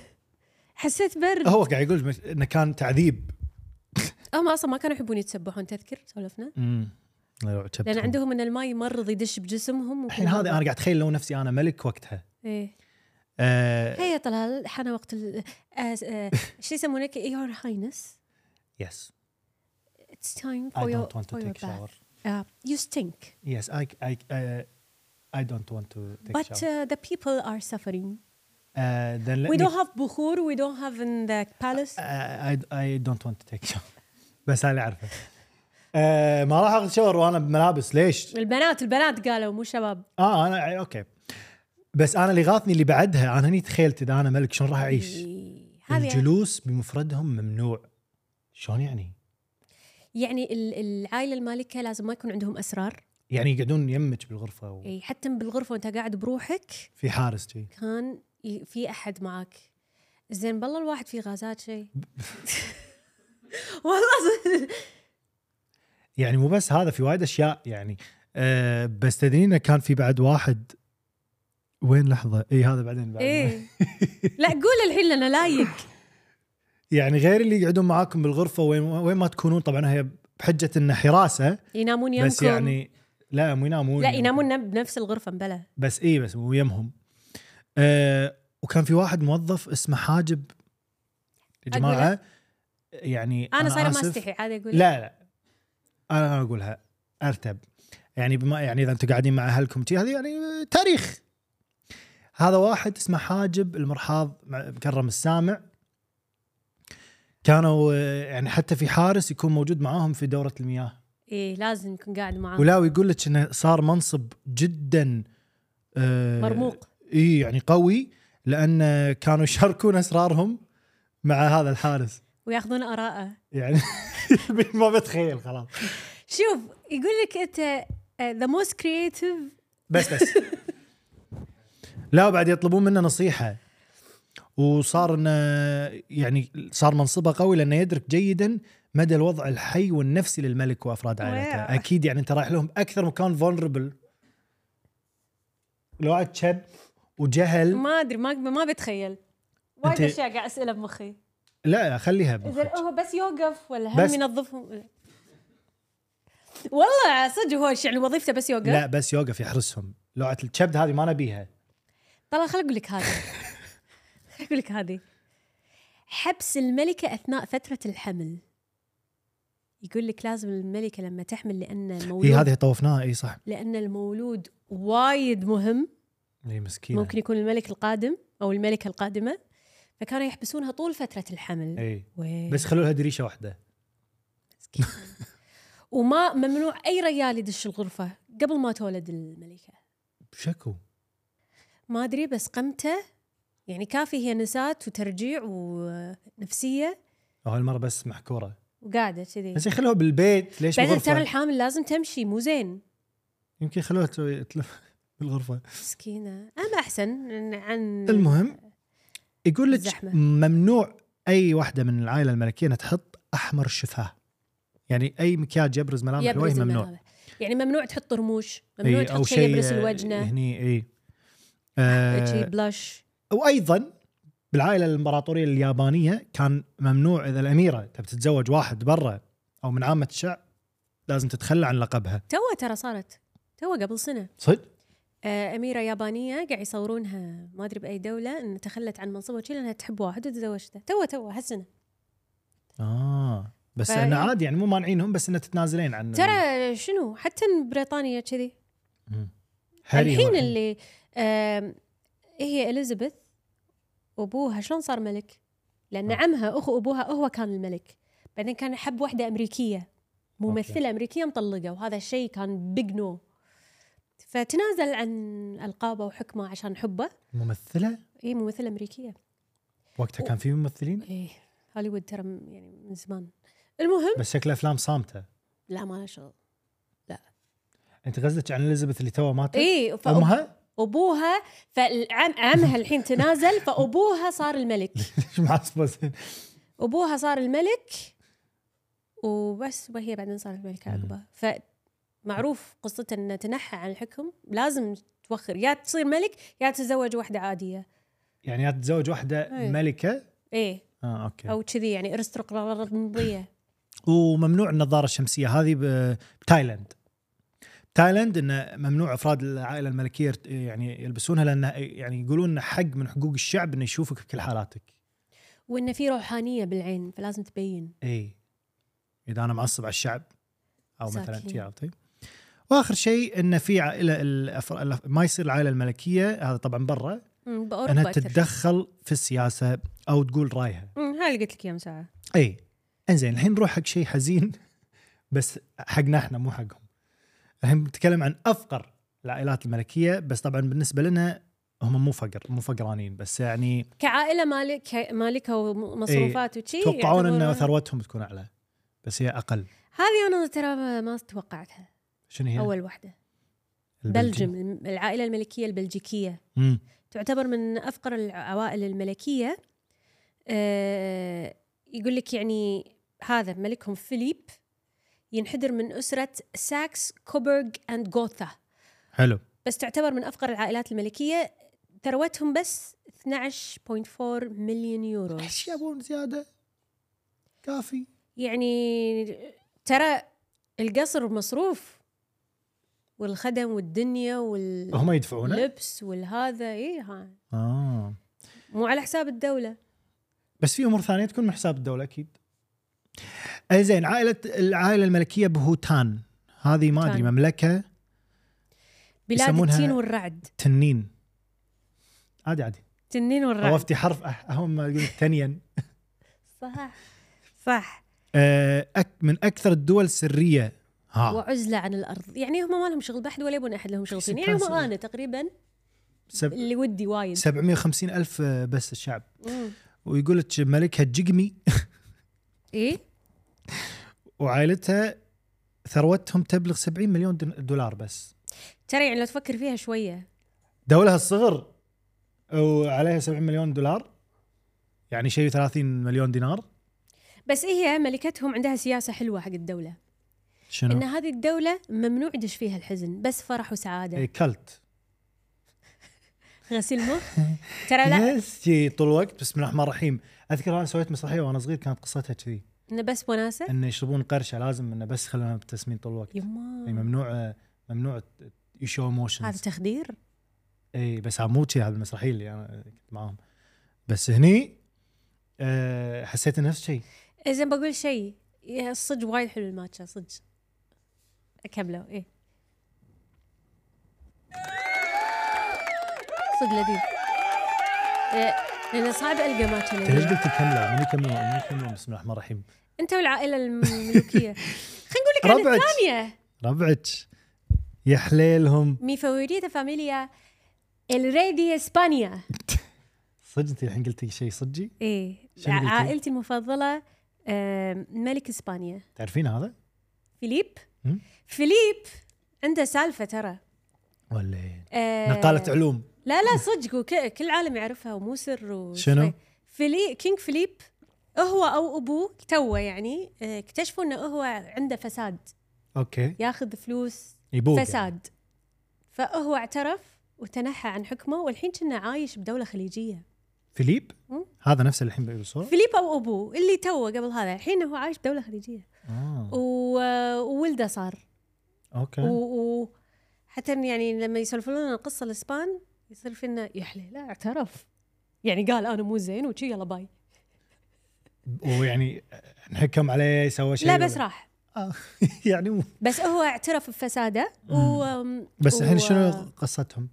[SPEAKER 2] حسيت برد
[SPEAKER 1] هو قاعد يقول مش- انه كان تعذيب
[SPEAKER 2] هم اصلا ما كانوا يحبون يتسبحون تذكر سولفنا لان عندهم ان الماء يمرض يدش بجسمهم
[SPEAKER 1] الحين هذه انا قاعد اتخيل لو نفسي انا ملك وقتها
[SPEAKER 2] ايه
[SPEAKER 1] آه
[SPEAKER 2] هيا طلال حان وقت ال... آه آه
[SPEAKER 1] (laughs)
[SPEAKER 2] شو يسمونك يور هاينس
[SPEAKER 1] يس
[SPEAKER 2] It's time
[SPEAKER 1] اي
[SPEAKER 2] for your,
[SPEAKER 1] دونت ونت تو
[SPEAKER 2] for your
[SPEAKER 1] تيك
[SPEAKER 2] bath.
[SPEAKER 1] شاور
[SPEAKER 2] Uh, you stink.
[SPEAKER 1] يس اي اي اي دونت ونت تو تيك
[SPEAKER 2] But
[SPEAKER 1] شاور
[SPEAKER 2] uh, the people are suffering. We
[SPEAKER 1] ذن
[SPEAKER 2] don't have bukhur. We don't have in the palace.
[SPEAKER 1] اي دونت ونت تو تيك شاور (laughs) بس هاي اللي اعرفه آه ما راح اخذ شاور وانا بملابس ليش؟
[SPEAKER 2] البنات البنات قالوا مو شباب
[SPEAKER 1] اه انا اوكي بس انا اللي غاثني اللي بعدها انا هني تخيلت اذا انا ملك شلون راح اعيش؟
[SPEAKER 2] إيه، هذه
[SPEAKER 1] الجلوس بمفردهم ممنوع شلون يعني؟
[SPEAKER 2] يعني ال- العائله المالكه لازم ما يكون عندهم اسرار
[SPEAKER 1] يعني يقعدون يمك بالغرفه و...
[SPEAKER 2] إيه، حتى بالغرفه وانت قاعد بروحك
[SPEAKER 1] في حارس جي
[SPEAKER 2] كان ي- في احد معك زين بالله الواحد في غازات شيء (laughs) والله
[SPEAKER 1] (laughs)
[SPEAKER 2] صدق.
[SPEAKER 1] يعني مو بس هذا في وايد اشياء يعني أه بس تدرين كان في بعد واحد وين لحظه اي هذا بعدين بعد (laughs)
[SPEAKER 2] ايه لا قول الحين لنا لايق
[SPEAKER 1] يعني غير اللي يقعدون معاكم بالغرفه وين وين ما تكونون طبعا هي بحجه انه حراسه
[SPEAKER 2] ينامون يمكم
[SPEAKER 1] بس يعني لا مو ينامون
[SPEAKER 2] لا ينامون نب- بنفس الغرفه مبلا
[SPEAKER 1] بس اي بس مو يمهم أه وكان في واحد موظف اسمه حاجب يا جماعه يعني
[SPEAKER 2] انا صايره ما
[SPEAKER 1] آسف.
[SPEAKER 2] استحي عادي اقول
[SPEAKER 1] لا لا انا أنا اقولها ارتب يعني بما يعني اذا انتم قاعدين مع اهلكم شي، هذه يعني تاريخ هذا واحد اسمه حاجب المرحاض مع- مكرم السامع كانوا آه، يعني حتى في حارس يكون موجود معاهم في دوره المياه
[SPEAKER 2] ايه لازم يكون قاعد معاه
[SPEAKER 1] ولا ويقول لك انه صار منصب جدا آه،
[SPEAKER 2] مرموق
[SPEAKER 1] اي يعني قوي لان كانوا يشاركون اسرارهم مع هذا الحارس
[SPEAKER 2] وياخذون اراءه
[SPEAKER 1] يعني (laughs) ما بتخيل خلاص
[SPEAKER 2] شوف يقول لك آه، انت ذا موست كرييتيف
[SPEAKER 1] بس بس (laughs) لا وبعد يطلبون منه نصيحه وصار انه يعني صار منصبه قوي لانه يدرك جيدا مدى الوضع الحي والنفسي للملك وافراد عائلته
[SPEAKER 2] واو.
[SPEAKER 1] اكيد يعني انت رايح لهم اكثر مكان فولنربل لو قعدت شب وجهل
[SPEAKER 2] ما ادري ما ما بتخيل وايد
[SPEAKER 1] أنت-
[SPEAKER 2] اشياء قاعد اسالها بمخي
[SPEAKER 1] لا خليها
[SPEAKER 2] زين
[SPEAKER 1] بمخك.
[SPEAKER 2] هو بس يوقف ولا
[SPEAKER 1] بس-
[SPEAKER 2] هم ينظفهم والله صدق هو يعني وظيفته بس يوقف
[SPEAKER 1] لا بس يوقف يحرسهم لوعة الكبد هذه ما نبيها
[SPEAKER 2] طلع خل اقول لك
[SPEAKER 1] (laughs)
[SPEAKER 2] هذه خل اقول لك هذه حبس الملكة أثناء فترة الحمل يقول لك لازم الملكة لما تحمل لأن المولود
[SPEAKER 1] هي هذه طوفناها اي صح
[SPEAKER 2] لأن المولود وايد مهم
[SPEAKER 1] اي مسكينه
[SPEAKER 2] ممكن يكون الملك القادم أو الملكة القادمة فكانوا يحبسونها طول فترة الحمل
[SPEAKER 1] اي
[SPEAKER 2] وي.
[SPEAKER 1] بس خلوا لها دريشه واحده
[SPEAKER 2] وما ممنوع أي ريال يدش الغرفة قبل ما تولد الملكة
[SPEAKER 1] شكو
[SPEAKER 2] ما أدري بس قمته يعني كافي هي نسات وترجيع ونفسية
[SPEAKER 1] وهالمره بس محكوره
[SPEAKER 2] وقاعدة كذي
[SPEAKER 1] يعني بس يخلوها بالبيت ليش
[SPEAKER 2] بعدين
[SPEAKER 1] بالغرفة؟
[SPEAKER 2] ترى الحامل لازم تمشي مو زين
[SPEAKER 1] يمكن خلوها تسوي تلف (laughs) بالغرفه
[SPEAKER 2] مسكينة أنا أحسن عن- عن
[SPEAKER 1] المهم يقول لك
[SPEAKER 2] الزحمة.
[SPEAKER 1] ممنوع اي واحده من العائله الملكيه انها تحط احمر شفاه يعني اي مكياج يبرز ملامح
[SPEAKER 2] يبرز
[SPEAKER 1] الوجه ممنوع
[SPEAKER 2] الملامح. يعني ممنوع تحط رموش ممنوع
[SPEAKER 1] أي
[SPEAKER 2] تحط شيء يبرز الوجنة
[SPEAKER 1] هني اي آه
[SPEAKER 2] شيء بلاش
[SPEAKER 1] وايضا بالعائله الامبراطوريه اليابانيه كان ممنوع اذا الاميره تبي تتزوج واحد برا او من عامه الشعب لازم تتخلى عن لقبها
[SPEAKER 2] توا ترى صارت توا قبل سنة
[SPEAKER 1] صدق؟
[SPEAKER 2] آه، أميرة يابانية قاعد يصورونها ما أدري بأي دولة أن تخلت عن منصبها وشي لأنها تحب واحد وتزوجته توا توا هالسنة
[SPEAKER 1] اه بس
[SPEAKER 2] فهي-
[SPEAKER 1] انه عادي يعني مو مانعينهم بس انه تتنازلين عن
[SPEAKER 2] ترى شنو حتى بريطانيا كذي
[SPEAKER 1] مم. هاري
[SPEAKER 2] الحين
[SPEAKER 1] هو-
[SPEAKER 2] اللي آم، هي اليزابيث وابوها شلون صار ملك؟ لان
[SPEAKER 1] آه.
[SPEAKER 2] عمها اخو ابوها هو كان الملك بعدين كان حب واحده امريكيه ممثله
[SPEAKER 1] أوكي.
[SPEAKER 2] امريكيه مطلقه وهذا الشيء كان بيج نو فتنازل عن القابه وحكمه عشان حبه
[SPEAKER 1] ممثله
[SPEAKER 2] هي ممثله امريكيه
[SPEAKER 1] وقتها كان في ممثلين
[SPEAKER 2] ايه هوليوود ترى م- يعني من زمان المهم
[SPEAKER 1] بس شكل افلام صامته
[SPEAKER 2] لا ما لها شغل
[SPEAKER 1] انت قصدك عن اليزابيث اللي توها ماتت
[SPEAKER 2] اي فأب-
[SPEAKER 1] امها (laughs)
[SPEAKER 2] ابوها فعمها الحين تنازل فابوها صار الملك
[SPEAKER 1] ليش معصبه زين؟
[SPEAKER 2] ابوها صار الملك وبس وهي بعدين صارت ملكه
[SPEAKER 1] مم.
[SPEAKER 2] عقبه ف معروف قصته انه تنحى عن الحكم لازم توخر يا تصير ملك يا تتزوج واحده عاديه
[SPEAKER 1] يعني يا تتزوج واحده
[SPEAKER 2] إيه.
[SPEAKER 1] ملكه
[SPEAKER 2] ايه
[SPEAKER 1] اه اوكي
[SPEAKER 2] او كذي يعني ارستقراطيه
[SPEAKER 1] وممنوع النظاره الشمسيه هذه ب- بتايلاند تايلاند انه ممنوع افراد العائله الملكيه يرت- يعني يلبسونها لانه يعني يقولون إنه حق من حقوق الشعب انه يشوفك بكل حالاتك
[SPEAKER 2] وانه في روحانيه بالعين فلازم تبين
[SPEAKER 1] اي اذا انا معصب على الشعب او مثلا
[SPEAKER 2] مساكين.
[SPEAKER 1] شي عرفتي واخر شيء انه في عائله الأفر... الأف- ما يصير العائله الملكيه هذا طبعا برا
[SPEAKER 2] مم،
[SPEAKER 1] انها
[SPEAKER 2] باوروبا اكثر
[SPEAKER 1] تتدخل في السياسه او تقول رايها
[SPEAKER 2] مم، هاي اللي قلت لك اياها من ساعه
[SPEAKER 1] اي انزين الحين نروح حق شيء حزين بس حقنا احنا مو حقهم الحين بنتكلم عن افقر العائلات الملكيه بس طبعا بالنسبه لنا هم مو فقر مو فقرانين بس يعني
[SPEAKER 2] كعائله مالك مالكها ومصروفات وشي
[SPEAKER 1] يتوقعون ان
[SPEAKER 2] يعتبرون-
[SPEAKER 1] ثروتهم تكون اعلى بس هي اقل
[SPEAKER 2] هذه انا ترى ما توقعتها
[SPEAKER 1] شنو هي؟
[SPEAKER 2] اول واحده
[SPEAKER 1] البلجيك.
[SPEAKER 2] بلجم العائله الملكيه البلجيكيه
[SPEAKER 1] مم.
[SPEAKER 2] تعتبر من افقر العوائل الملكيه آه، يقول لك يعني هذا ملكهم فيليب ينحدر من اسره ساكس كوبرغ اند جوثا
[SPEAKER 1] حلو
[SPEAKER 2] بس تعتبر من افقر العائلات الملكيه ثروتهم بس 12.4 مليون يورو
[SPEAKER 1] ايش يبون زياده؟ كافي
[SPEAKER 2] يعني ترى القصر مصروف والخدم والدنيا واللبس
[SPEAKER 1] هم يدفعونه؟
[SPEAKER 2] والهذا اي ها
[SPEAKER 1] اه
[SPEAKER 2] مو على حساب الدوله
[SPEAKER 1] بس في امور ثانيه تكون من حساب الدوله اكيد. آه، زين عائله العائله الملكيه بهوتان هذه ما ادري
[SPEAKER 2] بهوتان.
[SPEAKER 1] مملكه
[SPEAKER 2] بلاد
[SPEAKER 1] يسمونها-
[SPEAKER 2] التين والرعد
[SPEAKER 1] تنين عادي عادي
[SPEAKER 2] تنين والرعد
[SPEAKER 1] طوفتي حرف أح- هم يقول تنين
[SPEAKER 2] صح صح
[SPEAKER 1] آه، أك- من اكثر الدول سريه ها
[SPEAKER 2] وعزله عن الارض يعني هم ما لهم شغل بحد ولا يبون احد لهم شغل فيني. يعني هم
[SPEAKER 1] سكان
[SPEAKER 2] انا تقريبا
[SPEAKER 1] سب...
[SPEAKER 2] اللي ودي وايد
[SPEAKER 1] 750 الف آه، بس الشعب
[SPEAKER 2] مم.
[SPEAKER 1] ويقول لك ملكها جقمي
[SPEAKER 2] ايه
[SPEAKER 1] وعائلتها ثروتهم تبلغ 70 مليون دن- دولار بس
[SPEAKER 2] ترى يعني لو تفكر فيها شويه
[SPEAKER 1] دولة الصغر وعليها 70 مليون دولار يعني شيء 30 مليون دينار
[SPEAKER 2] بس إيه، هي ملكتهم عندها سياسه حلوه حق الدوله ان
[SPEAKER 1] شنو؟
[SPEAKER 2] هذه الدوله ممنوع يدش فيها الحزن بس فرح وسعاده
[SPEAKER 1] إيه، كلت
[SPEAKER 2] غسيل مخ ترى لا
[SPEAKER 1] يس جي طول الوقت بسم الله الرحمن الرحيم اذكر انا سويت مسرحيه وانا صغير كانت قصتها كذي
[SPEAKER 2] انه بس وناسه
[SPEAKER 1] انه يشربون قرشه لازم انه بس خلونا مبتسمين طول الوقت اي
[SPEAKER 2] يما
[SPEAKER 1] ممنوع ممنوع يشو
[SPEAKER 2] هذا
[SPEAKER 1] ايموشنز
[SPEAKER 2] تخدير
[SPEAKER 1] اي بس مو كذي هذا المسرحيه اللي انا كنت معاهم بس هني أه حسيت نفس الشيء
[SPEAKER 2] اذا بقول شيء يا صدق وايد حلو الماتشا صدق اكمله ايه صدق لذيذ إيه، لانه صعب القى ماتشا
[SPEAKER 1] انت ليش
[SPEAKER 2] لذيذ
[SPEAKER 1] قلت كملوا من كملوا من كملوا بسم الله الرحمن الرحيم
[SPEAKER 2] انت والعائله الملوكيه خلينا نقول لك عن
[SPEAKER 1] ربعك.
[SPEAKER 2] الثانيه
[SPEAKER 1] ربعك يا حليلهم
[SPEAKER 2] مي فاوريتا فاميليا الري دي اسبانيا
[SPEAKER 1] صدق انت الحين قلتي شيء صدقي
[SPEAKER 2] ايه
[SPEAKER 1] شنو قلتي؟
[SPEAKER 2] عائلتي المفضله آم، ملك اسبانيا
[SPEAKER 1] تعرفين هذا
[SPEAKER 2] فيليب
[SPEAKER 1] مم.
[SPEAKER 2] فيليب عنده سالفه ترى
[SPEAKER 1] ولا إيه؟
[SPEAKER 2] آه
[SPEAKER 1] نقالة علوم
[SPEAKER 2] لا لا صدق وك- كل العالم يعرفها ومو سر و-
[SPEAKER 1] شنو؟
[SPEAKER 2] فيلي كينج فيليب هو او ابوه توه يعني آه، اكتشفوا انه هو عنده فساد
[SPEAKER 1] اوكي
[SPEAKER 2] ياخذ فلوس
[SPEAKER 1] يبوق يعني.
[SPEAKER 2] فساد فهو اعترف وتنحى عن حكمه والحين كنا عايش بدوله خليجيه
[SPEAKER 1] فيليب
[SPEAKER 2] مم.
[SPEAKER 1] هذا نفسه اللي الحين بالصوره
[SPEAKER 2] فيليب او ابوه اللي توه قبل هذا الحين هو عايش بدوله خليجيه
[SPEAKER 1] آه.
[SPEAKER 2] و- آه، وولده صار
[SPEAKER 1] اوكي
[SPEAKER 2] و... و... حتى إن يعني لما يسولفون لنا القصه الاسبان يصير فينا يا حليله اعترف يعني قال انا مو زين وشي يلا باي
[SPEAKER 1] ويعني نحكم عليه سوى شيء
[SPEAKER 2] لا بس
[SPEAKER 1] ولا-
[SPEAKER 2] راح
[SPEAKER 1] آه. (laughs) يعني مو
[SPEAKER 2] بس هو اعترف بفساده و...
[SPEAKER 1] بس الحين
[SPEAKER 2] و-
[SPEAKER 1] شنو قصتهم؟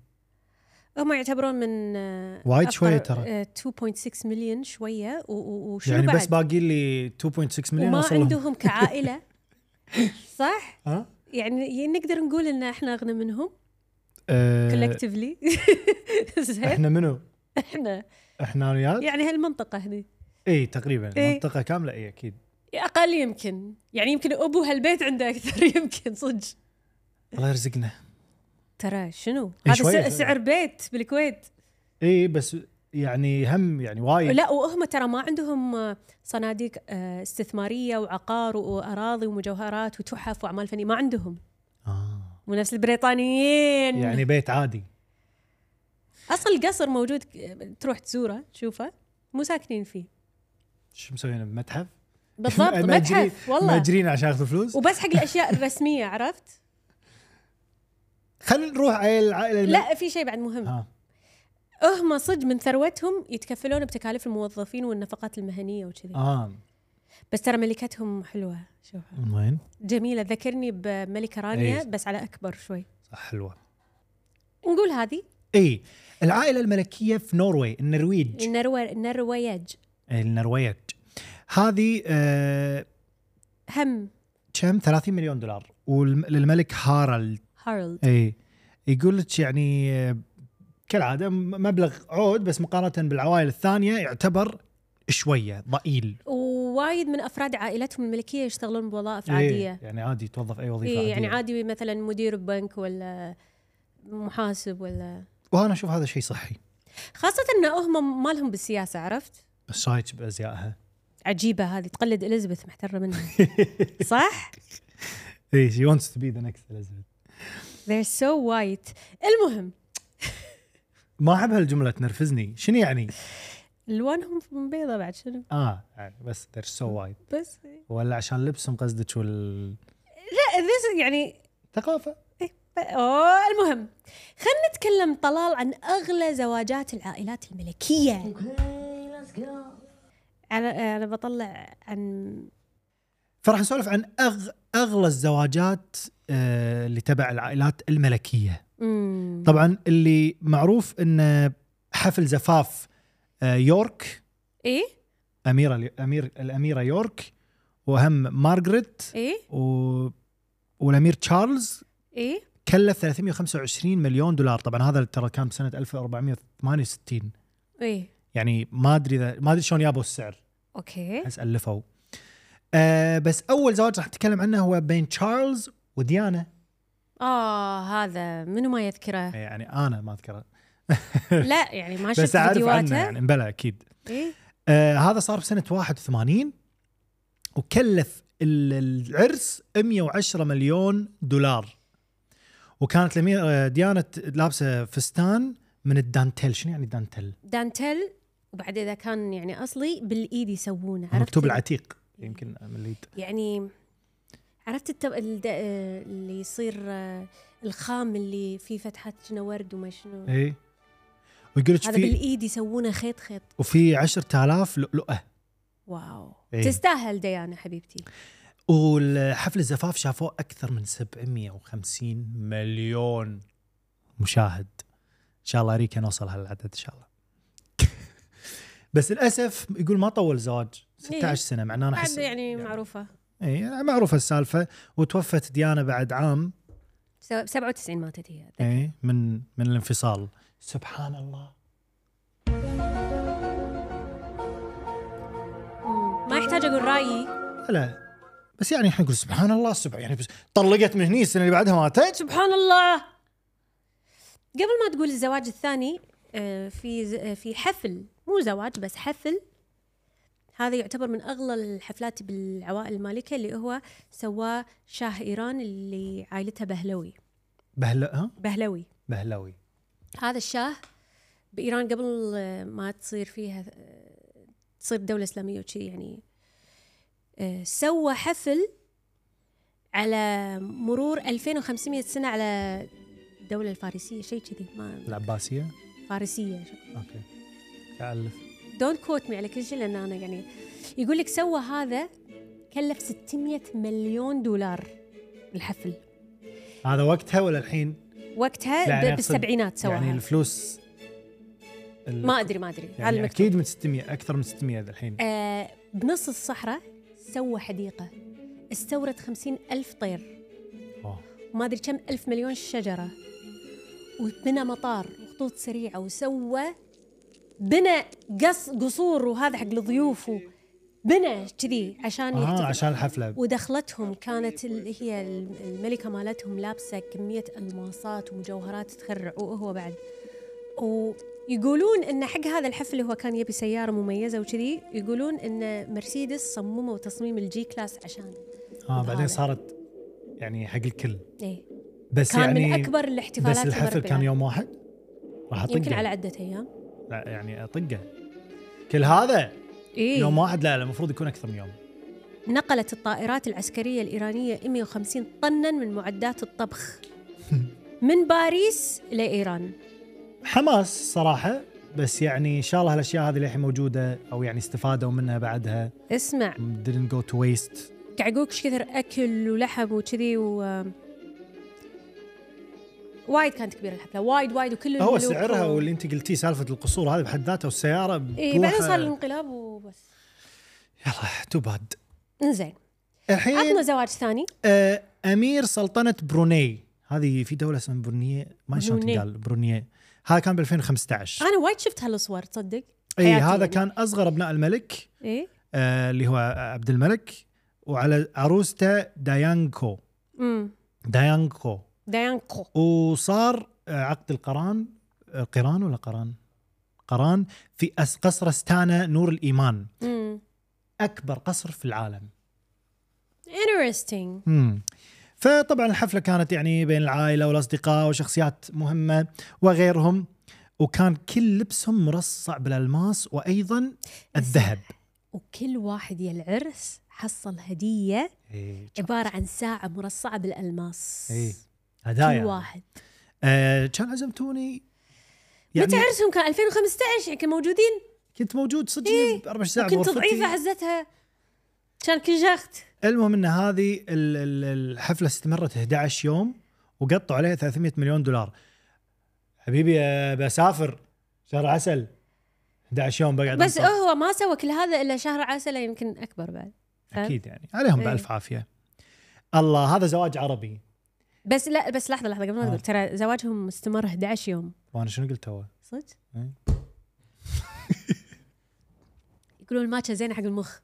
[SPEAKER 2] هم يعتبرون من آه،
[SPEAKER 1] وايد
[SPEAKER 2] أفقر-
[SPEAKER 1] شوية ترى.
[SPEAKER 2] آه، 2.6 مليون شويه و... و... وشنو
[SPEAKER 1] يعني
[SPEAKER 2] بعد
[SPEAKER 1] بس باقي لي 2.6 مليون
[SPEAKER 2] وما
[SPEAKER 1] وصل لهم (laughs)
[SPEAKER 2] عندهم كعائله صح
[SPEAKER 1] ها؟
[SPEAKER 2] يعني نقدر نقول ان احنا اغنى منهم
[SPEAKER 1] آه
[SPEAKER 2] كولكتفلي (laughs) زين
[SPEAKER 1] احنا آه، منو؟
[SPEAKER 2] احنا
[SPEAKER 1] احنا رياض؟
[SPEAKER 2] يعني هالمنطقه هني
[SPEAKER 1] اي تقريبا
[SPEAKER 2] إيه.
[SPEAKER 1] منطقه كامله اي اكيد
[SPEAKER 2] اقل يمكن يعني يمكن ابو هالبيت عنده اكثر (laughs) يمكن صدق
[SPEAKER 1] الله يرزقنا
[SPEAKER 2] ترى شنو
[SPEAKER 1] إيه
[SPEAKER 2] هذا
[SPEAKER 1] شوية
[SPEAKER 2] سع- سعر بيت بالكويت
[SPEAKER 1] اي إيه، بس يعني هم يعني وايد
[SPEAKER 2] لا وهم ترى ما عندهم آه، صناديق آه، استثماريه وعقار واراضي ومجوهرات وتحف واعمال فنيه ما عندهم
[SPEAKER 1] آه.
[SPEAKER 2] مو نفس البريطانيين
[SPEAKER 1] يعني بيت عادي
[SPEAKER 2] اصلا القصر موجود ك- تروح تزوره تشوفه مو ساكنين
[SPEAKER 1] (laughs)
[SPEAKER 2] فيه
[SPEAKER 1] شو مسويين بمتحف؟
[SPEAKER 2] بالضبط
[SPEAKER 1] مأجرين-
[SPEAKER 2] متحف والله
[SPEAKER 1] مأجرين عشان ياخذوا فلوس
[SPEAKER 2] وبس حق الاشياء الرسميه
[SPEAKER 1] (laughs)
[SPEAKER 2] عرفت؟
[SPEAKER 1] خلينا نروح على العائله الم-
[SPEAKER 2] لا في شيء بعد مهم
[SPEAKER 1] ها
[SPEAKER 2] هم صدق من ثروتهم يتكفلون بتكاليف الموظفين والنفقات المهنيه وكذي
[SPEAKER 1] اه
[SPEAKER 2] بس ترى ملكتهم حلوه شوفها
[SPEAKER 1] وين؟
[SPEAKER 2] جميله ذكرني بملكه رانيا
[SPEAKER 1] إيه.
[SPEAKER 2] بس على اكبر شوي
[SPEAKER 1] صح حلوه
[SPEAKER 2] نقول هذه
[SPEAKER 1] اي العائله الملكيه في نوروي النرويج
[SPEAKER 2] النرو... النرويج
[SPEAKER 1] النرويج هذه آه،
[SPEAKER 2] هم
[SPEAKER 1] كم 30 مليون دولار وللملك هارالد
[SPEAKER 2] هارلد
[SPEAKER 1] اي يقول لك يعني آه، كالعاده م- مبلغ عود بس مقارنه بالعوائل الثانيه يعتبر شويه ضئيل
[SPEAKER 2] ووايد من افراد عائلتهم الملكيه يشتغلون بوظائف
[SPEAKER 1] إيه
[SPEAKER 2] عاديه
[SPEAKER 1] يعني عادي توظف اي وظيفه
[SPEAKER 2] إيه
[SPEAKER 1] إيه
[SPEAKER 2] يعني عادي مثلا مدير بنك ولا محاسب ولا
[SPEAKER 1] وانا اشوف هذا شيء صحي
[SPEAKER 2] خاصه ان هم ما لهم بالسياسه عرفت
[SPEAKER 1] بس رايك بازيائها
[SPEAKER 2] عجيبه هذه تقلد اليزابيث محتره منها صح
[SPEAKER 1] اي شي wants to be the next Elizabeth
[SPEAKER 2] they're so white المهم
[SPEAKER 1] ما احب هالجمله تنرفزني شنو يعني
[SPEAKER 2] الوانهم بيضة بعد شنو
[SPEAKER 1] اه يعني بس they're so white
[SPEAKER 2] بس
[SPEAKER 1] ولا عشان لبسهم قصدك والثقافه
[SPEAKER 2] لا this يعني ب- اوه المهم خلينا نتكلم طلال عن اغلى زواجات العائلات الملكيه
[SPEAKER 3] Okay, let's go.
[SPEAKER 2] انا انا بطلع عن
[SPEAKER 1] فراح نسولف عن أغ... اغلى الزواجات آه، اللي تبع العائلات الملكيه
[SPEAKER 2] مم.
[SPEAKER 1] طبعا اللي معروف انه حفل زفاف آه، يورك
[SPEAKER 2] ايه
[SPEAKER 1] اميره الامير الاميره يورك وهم مارغريت
[SPEAKER 2] ايه
[SPEAKER 1] و... والامير تشارلز
[SPEAKER 2] ايه
[SPEAKER 1] كلف 325 مليون دولار طبعا هذا ترى كان بسنه 1468
[SPEAKER 2] ايه
[SPEAKER 1] يعني ما ادري اذا ما ادري شلون جابوا السعر
[SPEAKER 2] اوكي
[SPEAKER 1] احس الفوا آه بس اول زواج راح نتكلم عنه هو بين تشارلز وديانا
[SPEAKER 2] اه هذا منو
[SPEAKER 1] (laughs)
[SPEAKER 2] ما يذكره
[SPEAKER 1] يعني انا ما اذكره
[SPEAKER 2] لا يعني ما
[SPEAKER 1] بس
[SPEAKER 2] شفت
[SPEAKER 1] اعرف
[SPEAKER 2] فيديوهاته
[SPEAKER 1] عنه يعني بلا اكيد
[SPEAKER 2] ايه
[SPEAKER 1] آه هذا صار بسنه 81 وكلف ال- العرس 110 مليون دولار وكانت الأميرة- آه، ديانا ت- لابسه فستان من الدانتيل شنو يعني دانتيل؟
[SPEAKER 2] دانتل وبعد اذا كان يعني اصلي بالايد يسوونه عرفت
[SPEAKER 1] مكتوب العتيق يمكن من اليد
[SPEAKER 2] يعني عرفت التب... الد... آه، اللي يصير آه، الخام اللي فيه فتحات شنو ورد وما شنو
[SPEAKER 1] اي ويقول لك
[SPEAKER 2] هذا
[SPEAKER 1] إيه. في
[SPEAKER 2] بالايد يسوونه خيط خيط
[SPEAKER 1] وفي 10000 لؤلؤه
[SPEAKER 2] واو
[SPEAKER 1] إيه.
[SPEAKER 2] تستاهل ديانا حبيبتي
[SPEAKER 1] والحفل الزفاف شافوه اكثر من 750 مليون مشاهد ان شاء الله ريكا نوصل هالعدد ان شاء الله (laughs) بس للاسف يقول ما طول زواج 16
[SPEAKER 2] إيه.
[SPEAKER 1] سنه مع انه انا
[SPEAKER 2] بعد
[SPEAKER 1] احس
[SPEAKER 2] يعني معروفه
[SPEAKER 1] اي يعني معروفه السالفه وتوفت ديانا بعد عام
[SPEAKER 2] سو- 97 ماتت هي
[SPEAKER 1] اي من من الانفصال سبحان الله
[SPEAKER 2] مم. ما يحتاج اقول رايي
[SPEAKER 1] لا بس يعني احنا نقول سبحان الله سبحان يعني بس طلقت من هني السنه اللي بعدها ماتت
[SPEAKER 2] سبحان الله قبل ما تقول الزواج الثاني آه، في ز- آه، في حفل مو زواج بس حفل هذا يعتبر من اغلى الحفلات بالعوائل المالكه اللي هو سواه شاه ايران اللي عائلتها بهلوي
[SPEAKER 1] بهلا ها
[SPEAKER 2] بهلوي
[SPEAKER 1] بهلوي
[SPEAKER 2] هذا الشاه بايران قبل آه، ما تصير فيها آه، تصير دوله اسلاميه وشي يعني آه، سوى حفل على مرور 2500 سنه على الدوله الفارسيه شيء كذي ما
[SPEAKER 1] العباسيه
[SPEAKER 2] فارسيه
[SPEAKER 1] اوكي تعلف
[SPEAKER 2] دونت كوت مي على كل شيء لان انا يعني يقول لك سوى هذا كلف 600 مليون دولار الحفل
[SPEAKER 1] هذا وقتها ولا الحين؟ لا،
[SPEAKER 2] وقتها
[SPEAKER 1] يعني
[SPEAKER 2] ب-
[SPEAKER 1] أقصد
[SPEAKER 2] بالسبعينات سواها
[SPEAKER 1] يعني الفلوس ال-
[SPEAKER 2] ما ادري ما ادري هذا
[SPEAKER 1] يعني
[SPEAKER 2] المكتوب.
[SPEAKER 1] اكيد من 600 اكثر من 600 ذا الحين
[SPEAKER 2] آه، بنص الصحراء سوى حديقة استورد خمسين ألف طير
[SPEAKER 1] أوه.
[SPEAKER 2] وما أدري كم ألف مليون شجرة وبنى مطار وخطوط سريعة وسوى بنى قص قصور وهذا حق الضيوف بنى كذي عشان
[SPEAKER 1] اه
[SPEAKER 2] يحتفل
[SPEAKER 1] عشان الحفله
[SPEAKER 2] ودخلتهم كانت ال- هي ال- الملكة مالتهم لابسة كمية ألماسات ومجوهرات تخرع وهو بعد ويقولون إن حق هذا الحفل هو كان يبي سيارة مميزة وكذي يقولون إن مرسيدس صمموا تصميم الجي كلاس عشان
[SPEAKER 1] اه بعدين
[SPEAKER 2] هذا.
[SPEAKER 1] صارت يعني حق الكل
[SPEAKER 2] إيه
[SPEAKER 1] بس
[SPEAKER 2] كان
[SPEAKER 1] يعني
[SPEAKER 2] من اكبر
[SPEAKER 1] بس
[SPEAKER 2] الاحتفالات
[SPEAKER 1] الحفل
[SPEAKER 2] المربعة.
[SPEAKER 1] كان يوم واحد راح اطقه
[SPEAKER 2] يمكن على عده ايام
[SPEAKER 1] لا يعني اطقه كل هذا
[SPEAKER 2] اي
[SPEAKER 1] يوم واحد لا لا المفروض يكون اكثر من يوم
[SPEAKER 2] إيه. نقلت الطائرات العسكرية الإيرانية 150 طنا من
[SPEAKER 1] (laughs)
[SPEAKER 2] معدات الطبخ من باريس لإيران
[SPEAKER 1] حماس صراحه بس يعني ان شاء الله هالاشياء هذه للحين موجوده او يعني استفادوا منها بعدها
[SPEAKER 2] اسمع
[SPEAKER 1] didn't go to waste
[SPEAKER 2] قاعد أقولك إيش كثر أكل ولحم وكذي و وايد كانت كبيرة الحفلة وايد وايد وكل
[SPEAKER 1] هو
[SPEAKER 2] الملوك
[SPEAKER 1] سعرها
[SPEAKER 2] و-
[SPEAKER 1] واللي انت قلتيه سالفه القصور هذه بحد ذاتها والسياره
[SPEAKER 2] إي
[SPEAKER 1] بروحها-
[SPEAKER 2] إيه، بعدين صار الانقلاب وبس
[SPEAKER 1] يلا تو باد
[SPEAKER 2] انزين عطنا
[SPEAKER 1] الحين
[SPEAKER 2] زواج ثاني
[SPEAKER 1] آه امير سلطنه بروني هذه في دوله اسمها برونية ما شلون
[SPEAKER 2] بروني.
[SPEAKER 1] تقال برونية هذا كان ب 2015
[SPEAKER 2] أنا وايد شفت هالصور تصدق
[SPEAKER 1] اي
[SPEAKER 2] حياتي
[SPEAKER 1] هذا
[SPEAKER 2] يعني.
[SPEAKER 1] كان اصغر ابناء الملك
[SPEAKER 2] إي
[SPEAKER 1] آه اللي هو عبد الملك وعلى عروسته دايانكو
[SPEAKER 2] امم
[SPEAKER 1] دايانكو
[SPEAKER 2] دايانكو
[SPEAKER 1] وصار آه، عقد القران آه، قران ولا قران؟ قران في أس- قصر استانا نور الايمان
[SPEAKER 2] امم
[SPEAKER 1] اكبر قصر في العالم
[SPEAKER 2] interesting
[SPEAKER 1] مم. فطبعا الحفله كانت يعني بين العائله والاصدقاء وشخصيات مهمه وغيرهم وكان كل لبسهم مرصع بالالماس وايضا الذهب
[SPEAKER 2] وكل واحد يا العرس حصل هدية
[SPEAKER 1] إيه،
[SPEAKER 2] عبارة عن ساعة مرصعة بالألماس
[SPEAKER 1] إيه،
[SPEAKER 2] كل
[SPEAKER 1] هدايا
[SPEAKER 2] واحد
[SPEAKER 1] آه كان عزمتوني
[SPEAKER 2] يعني
[SPEAKER 1] يعني
[SPEAKER 2] متى عرسهم كان 2015 يعني كانوا موجودين
[SPEAKER 1] كنت موجود صدق
[SPEAKER 2] إيه،
[SPEAKER 1] ب 24 ساعه
[SPEAKER 2] كنت
[SPEAKER 1] بغرفتي.
[SPEAKER 2] ضعيفة عزتها كان كل شخت
[SPEAKER 1] المهم ان هذه ال- ال- الحفله استمرت 11 يوم وقطوا عليها 300 مليون دولار حبيبي آه، بسافر شهر عسل 11 يوم بقعد
[SPEAKER 2] بس
[SPEAKER 1] أنطر.
[SPEAKER 2] هو ما سوى كل هذا إلا شهر عسلة يمكن أكبر بعد فهمت؟
[SPEAKER 1] اكيد يعني عليهم
[SPEAKER 2] إيه.
[SPEAKER 1] بالف عافيه الله هذا زواج عربي
[SPEAKER 2] بس لا بس لحظة لحظة قبل ما
[SPEAKER 1] آه.
[SPEAKER 2] تقول ترى زواجهم استمر 11 يوم
[SPEAKER 1] وانا شنو قلت هو
[SPEAKER 2] صدق؟
[SPEAKER 1] إيه.
[SPEAKER 2] (laughs) يقولون الماتشا زينة حق المخ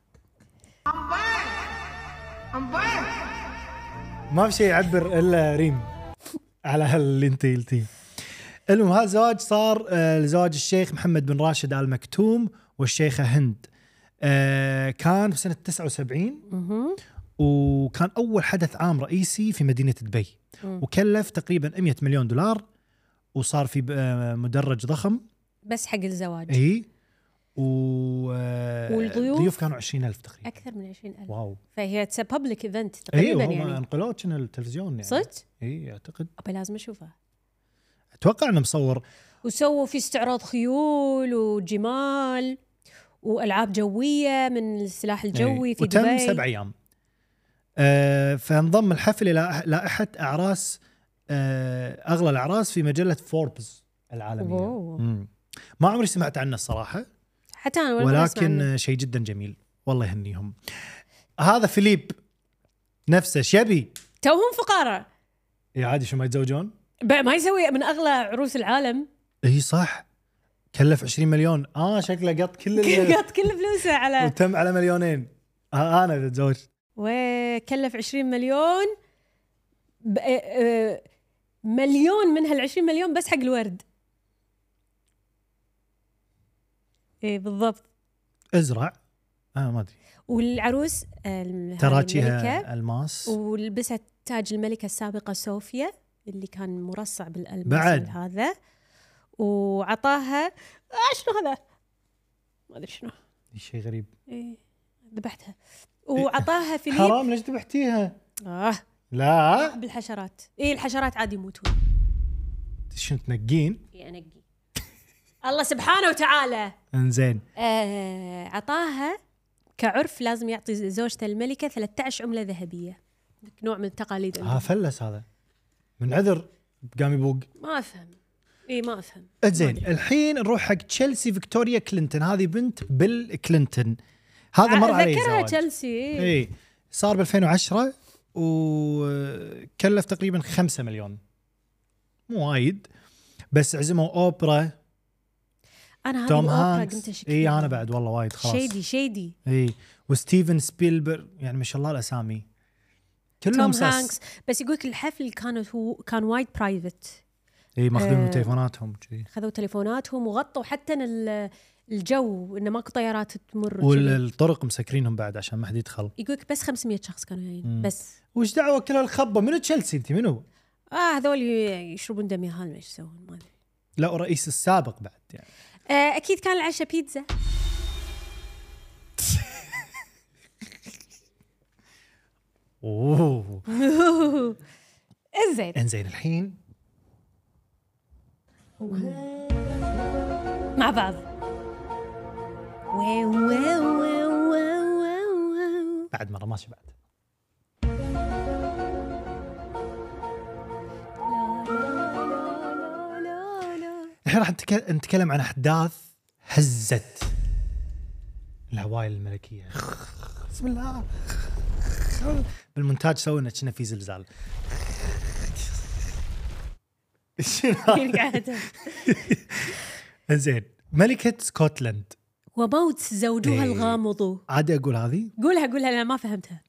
[SPEAKER 1] ما في شيء يعبر الا ريم على هاللي انت قلتيه المهم هذا الزواج صار آه، لزواج الشيخ محمد بن راشد ال مكتوم والشيخه هند آه، كان في سنه 79
[SPEAKER 2] مهم.
[SPEAKER 1] وكان اول حدث عام رئيسي في مدينه دبي
[SPEAKER 2] مم.
[SPEAKER 1] وكلف تقريبا 100 مليون دولار وصار في آه، مدرج ضخم
[SPEAKER 2] بس حق الزواج
[SPEAKER 1] اي و آه،
[SPEAKER 2] والضيوف؟
[SPEAKER 1] الضيوف كانوا 20000 تقريبا
[SPEAKER 2] أكثر من 20000
[SPEAKER 1] واو
[SPEAKER 2] فهي بابليك ايفنت
[SPEAKER 1] اي
[SPEAKER 2] تقريبا
[SPEAKER 1] وهم
[SPEAKER 2] يعني
[SPEAKER 1] انقلوه كان التلفزيون يعني
[SPEAKER 2] صدق؟
[SPEAKER 1] اي اعتقد
[SPEAKER 2] أبي لازم أشوفها
[SPEAKER 1] اتوقع انه مصور
[SPEAKER 2] وسووا في استعراض خيول وجمال والعاب جويه من السلاح الجوي
[SPEAKER 1] إيه.
[SPEAKER 2] في
[SPEAKER 1] وتم
[SPEAKER 2] دبي
[SPEAKER 1] سبع ايام آه فانضم الحفل الى أح- لائحه اعراس آه اغلى الاعراس في مجله فوربس العالميه
[SPEAKER 2] واو.
[SPEAKER 1] مم. ما عمري سمعت عنه الصراحه
[SPEAKER 2] حتى انا ولا مرة أسمع عنه.
[SPEAKER 1] ولكن شيء جدا جميل والله يهنيهم هذا فيليب نفسه شبي
[SPEAKER 2] توهم فقاره
[SPEAKER 1] يا عادي شو ما يتزوجون
[SPEAKER 2] ب- ما يسوي من اغلى عروس العالم
[SPEAKER 1] اي صح كلف 20 مليون اه شكله قط كل
[SPEAKER 2] (laughs)
[SPEAKER 1] ال-
[SPEAKER 2] قط كل فلوسه على
[SPEAKER 1] وتم على مليونين آه انا بتزوج
[SPEAKER 2] وكلف 20 مليون ب- آه، آه، مليون من هال 20 مليون بس حق الورد ايه بالضبط
[SPEAKER 1] ازرع آه ما ادري
[SPEAKER 2] والعروس آه، هذه الملكة.
[SPEAKER 1] تراتشيها الماس
[SPEAKER 2] ولبست تاج الملكة السابقة صوفيا اللي كان مرصع بالألماس
[SPEAKER 1] بعد.
[SPEAKER 2] هذا وعطاها آه شنو هذا؟ ما ادري شنو
[SPEAKER 1] شيء غريب
[SPEAKER 2] إيه ذبحتها
[SPEAKER 1] إيه. (laughs)
[SPEAKER 2] وعطاها فيليب
[SPEAKER 1] حرام ليش ذبحتيها؟
[SPEAKER 2] اه
[SPEAKER 1] لا
[SPEAKER 2] بالحشرات اي الحشرات عادي يموتون
[SPEAKER 1] شنو تنقين؟
[SPEAKER 2] إي، انقي إيه، (laughs) الله سبحانه وتعالى
[SPEAKER 1] انزين
[SPEAKER 2] آه عطاها كعرف لازم يعطي زوجته الملكة 13 عملة ذهبية نوع من التقاليد
[SPEAKER 1] اه
[SPEAKER 2] عندهم.
[SPEAKER 1] فلس هذا من عذر قام يبوق
[SPEAKER 2] ما افهم اي ما افهم
[SPEAKER 1] زين الحين نروح حق تشيلسي فيكتوريا كلينتون هذه بنت بيل كلينتون هذا مر عليه
[SPEAKER 2] ذكرها
[SPEAKER 1] زواج
[SPEAKER 2] تشيلسي إيه.
[SPEAKER 1] اي صار ب 2010 وكلف تقريبا 5 مليون مو وايد بس عزموا اوبرا
[SPEAKER 2] انا هذه
[SPEAKER 1] توم
[SPEAKER 2] الأوبرا قمت
[SPEAKER 1] هانكس
[SPEAKER 2] أشك
[SPEAKER 1] اي
[SPEAKER 2] فيها.
[SPEAKER 1] انا بعد والله وايد خلاص
[SPEAKER 2] شيدي شيدي
[SPEAKER 1] اي وستيفن سبيلبر يعني ما شاء الله الاسامي كلهم
[SPEAKER 2] توم
[SPEAKER 1] ساس.
[SPEAKER 2] هانكس بس يقولك الحفل كان هو كان وايد برايفت
[SPEAKER 1] اي ماخذين من
[SPEAKER 2] آه.
[SPEAKER 1] تليفوناتهم كذي
[SPEAKER 2] خذوا تليفوناتهم وغطوا حتى ال- الجو انه ماكو طيارات تمر وكذي.
[SPEAKER 1] والطرق مسكرينهم بعد عشان ما حد يدخل
[SPEAKER 2] يقولك بس 500 شخص كانوا جايين
[SPEAKER 1] مم.
[SPEAKER 2] بس
[SPEAKER 1] وش دعوه كل هالخبه منو تشيلسي انت منو؟
[SPEAKER 2] اه هذول ي- يشربون دم يا هالمش ايش يسوون ما ادري
[SPEAKER 1] لا الرئيس السابق بعد يعني
[SPEAKER 2] آه، اكيد كان العشاء بيتزا (laughs)
[SPEAKER 1] اوه
[SPEAKER 2] زين
[SPEAKER 1] انزين الحين
[SPEAKER 2] مع بعض واو واو واو واو واو واو.
[SPEAKER 1] بعد مره ماشي بعد
[SPEAKER 2] لا، لا، لا، لا، لا.
[SPEAKER 1] الحين راح نتك- نتكلم عن احداث هزت الهوائل الملكيه بسم الله بالمونتاج سوينا كنا في زلزال شنو هذا؟
[SPEAKER 2] قاعدة.
[SPEAKER 1] زين ملكه سكوتلند
[SPEAKER 2] وموت زوجها
[SPEAKER 1] إيه.
[SPEAKER 2] الغامض
[SPEAKER 1] عادي اقول هذه
[SPEAKER 2] قولها قولها انا ما فهمتها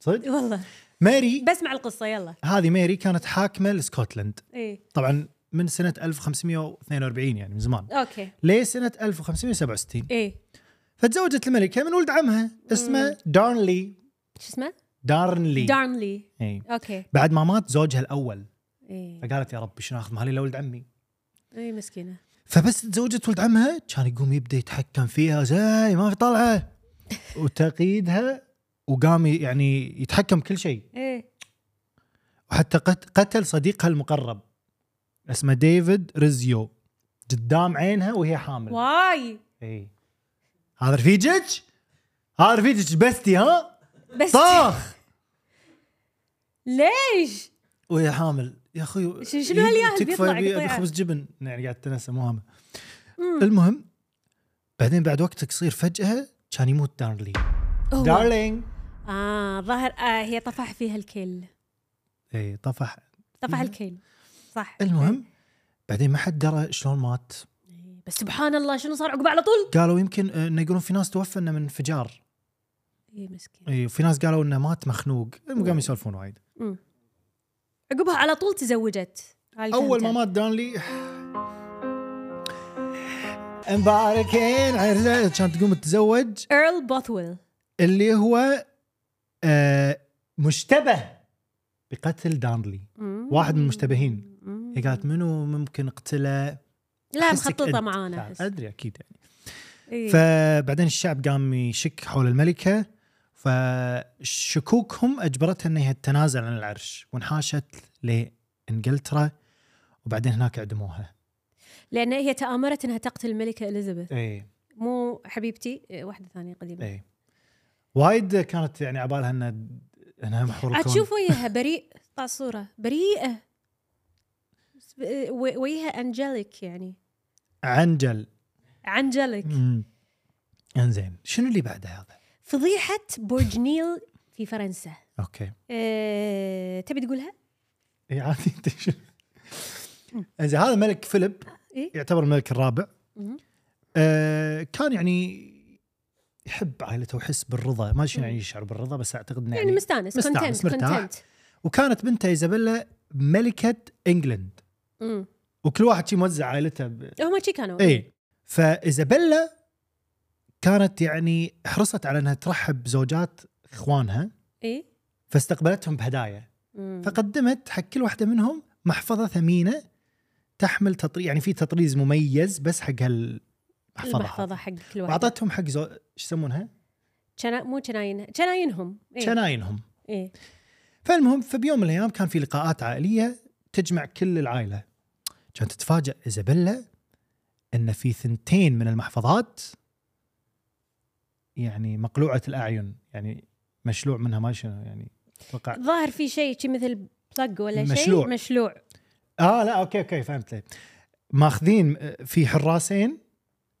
[SPEAKER 1] صدق
[SPEAKER 2] والله
[SPEAKER 1] ماري
[SPEAKER 2] بسمع القصه يلا
[SPEAKER 1] هذه ماري كانت حاكمه لسكوتلند
[SPEAKER 2] ايه
[SPEAKER 1] طبعا من سنه 1542 يعني من زمان
[SPEAKER 2] اوكي
[SPEAKER 1] ليه سنه 1567
[SPEAKER 2] ايه
[SPEAKER 1] فتزوجت الملكه من ولد عمها اسمه دارنلي
[SPEAKER 2] شو اسمه؟
[SPEAKER 1] دارنلي
[SPEAKER 2] دارنلي
[SPEAKER 1] اي
[SPEAKER 2] اوكي
[SPEAKER 1] بعد ما مات زوجها الاول
[SPEAKER 2] ايه
[SPEAKER 1] فقالت يا ربي شنو اخذ مالي لولد عمي
[SPEAKER 2] ايه مسكينه
[SPEAKER 1] فبس تزوجت ولد عمها كان يقوم يبدا يتحكم فيها زي ما في طلعه وتقيدها وقام ي- يعني يتحكم كل شيء
[SPEAKER 2] ايه
[SPEAKER 1] وحتى قت- قتل صديقها المقرب اسمه ديفيد ريزيو قدام عينها وهي حامل
[SPEAKER 2] واي
[SPEAKER 1] اي هذا رفيجك؟ هذا رفيجك بستي ها؟
[SPEAKER 2] بس
[SPEAKER 1] طاخ
[SPEAKER 2] ليش؟
[SPEAKER 1] وهي حامل يا اخوي
[SPEAKER 2] ش- شنو هالياهل
[SPEAKER 1] تكفى
[SPEAKER 2] بيطلع
[SPEAKER 1] أبي- أبي
[SPEAKER 2] قطيعة؟
[SPEAKER 1] خبز جبن يعني قاعد تنسى مو هامه
[SPEAKER 2] مم.
[SPEAKER 1] المهم بعدين بعد وقت قصير فجاه كان يموت دارلي
[SPEAKER 2] هو-
[SPEAKER 1] دارلينج
[SPEAKER 2] اه ظهر آه هي طفح فيها الكيل
[SPEAKER 1] اي إيه، طفح
[SPEAKER 2] طفح الكيل صح
[SPEAKER 1] المهم بعدين ما حد درى شلون مات
[SPEAKER 2] إيه. بس سبحان الله شنو صار عقبه على طول؟
[SPEAKER 1] قالوا يمكن آه، انه يقولون في ناس توفى انه من انفجار
[SPEAKER 2] ايه مسكين
[SPEAKER 1] اي وفي ناس قالوا انه مات مخنوق المهم قاموا يسولفون وايد
[SPEAKER 2] مم. عقبها على طول تزوجت هاي اللي
[SPEAKER 1] اول ما
[SPEAKER 2] فهمتها.
[SPEAKER 1] مات دانلي مباركين عرسه كانت تقوم تتزوج
[SPEAKER 2] ايرل بوثويل
[SPEAKER 1] اللي هو آه مشتبه بقتل دانلي
[SPEAKER 2] مم.
[SPEAKER 1] واحد من المشتبهين
[SPEAKER 2] مم.
[SPEAKER 1] هي قالت منو ممكن اقتله
[SPEAKER 2] لا
[SPEAKER 1] أحسك
[SPEAKER 2] مخططه
[SPEAKER 1] أنت.
[SPEAKER 2] معانا أحس.
[SPEAKER 1] ادري اكيد يعني
[SPEAKER 2] إيه.
[SPEAKER 1] فبعدين الشعب قام يشك حول الملكه فشكوكهم اجبرتها انها تتنازل عن العرش وانحاشت لانجلترا وبعدين هناك عدموها.
[SPEAKER 2] لان هي تامرت انها تقتل الملكه اليزابيث
[SPEAKER 1] اي
[SPEAKER 2] مو حبيبتي إيه، واحده ثانيه قديمه
[SPEAKER 1] اي وايد كانت يعني عبالها ان انها محور الكون
[SPEAKER 2] تشوف وجهها بريء طلع صوره بريئه بس- إيه، و- وجهها انجليك يعني
[SPEAKER 1] عنجل
[SPEAKER 2] انجليك
[SPEAKER 1] أمم. انزين شنو اللي بعده هذا؟
[SPEAKER 2] فضيحه برج نيل في فرنسا
[SPEAKER 1] اوكي
[SPEAKER 2] أه... تبي تقولها؟
[SPEAKER 1] اي إيه، عادي (laughs) انت شنو؟ انزين هذا ملك فيليب
[SPEAKER 2] إيه؟
[SPEAKER 1] يعتبر الملك الرابع
[SPEAKER 2] مهم.
[SPEAKER 1] آه كان يعني يحب عائلته ويحس بالرضا ما أدري شنو يعني يشعر بالرضا بس اعتقد انه
[SPEAKER 2] يعني مستانس
[SPEAKER 1] مستانس،
[SPEAKER 2] كونتنت
[SPEAKER 1] مرتاح.
[SPEAKER 2] كونتنت
[SPEAKER 1] وكانت بنته ايزابيلا ملكه انجلند
[SPEAKER 2] مم.
[SPEAKER 1] وكل واحد شي موزع عائلته ب...
[SPEAKER 2] هم شي كانوا
[SPEAKER 1] اي فايزابيلا كانت يعني حرصت على انها ترحب بزوجات اخوانها
[SPEAKER 2] اي
[SPEAKER 1] فاستقبلتهم بهدايا
[SPEAKER 2] إيه. مم.
[SPEAKER 1] فقدمت حق كل واحده منهم محفظه ثمينه تحمل تطريز يعني في تطريز مميز بس حق هالمحفظه
[SPEAKER 2] المحفظه
[SPEAKER 1] هذه.
[SPEAKER 2] حق كل واحد
[SPEAKER 1] واعطتهم حق زو... شو يسمونها؟
[SPEAKER 2] شنا... مو جناين جناينهم اي
[SPEAKER 1] شناينهم
[SPEAKER 2] إيه.
[SPEAKER 1] فالمهم فبيوم من الايام كان في لقاءات عائليه تجمع كل العائله كانت تتفاجئ ايزابيلا ان في ثنتين من المحفظات يعني مقلوعه الاعين يعني مشلوع منها ما شنو يعني اتوقع
[SPEAKER 2] ظاهر في شيء شي مثل بلاج ولا
[SPEAKER 1] مشلوع.
[SPEAKER 2] شيء مشلوع
[SPEAKER 1] اه لا اوكي اوكي فهمت ليه ماخذين آه، في حراسين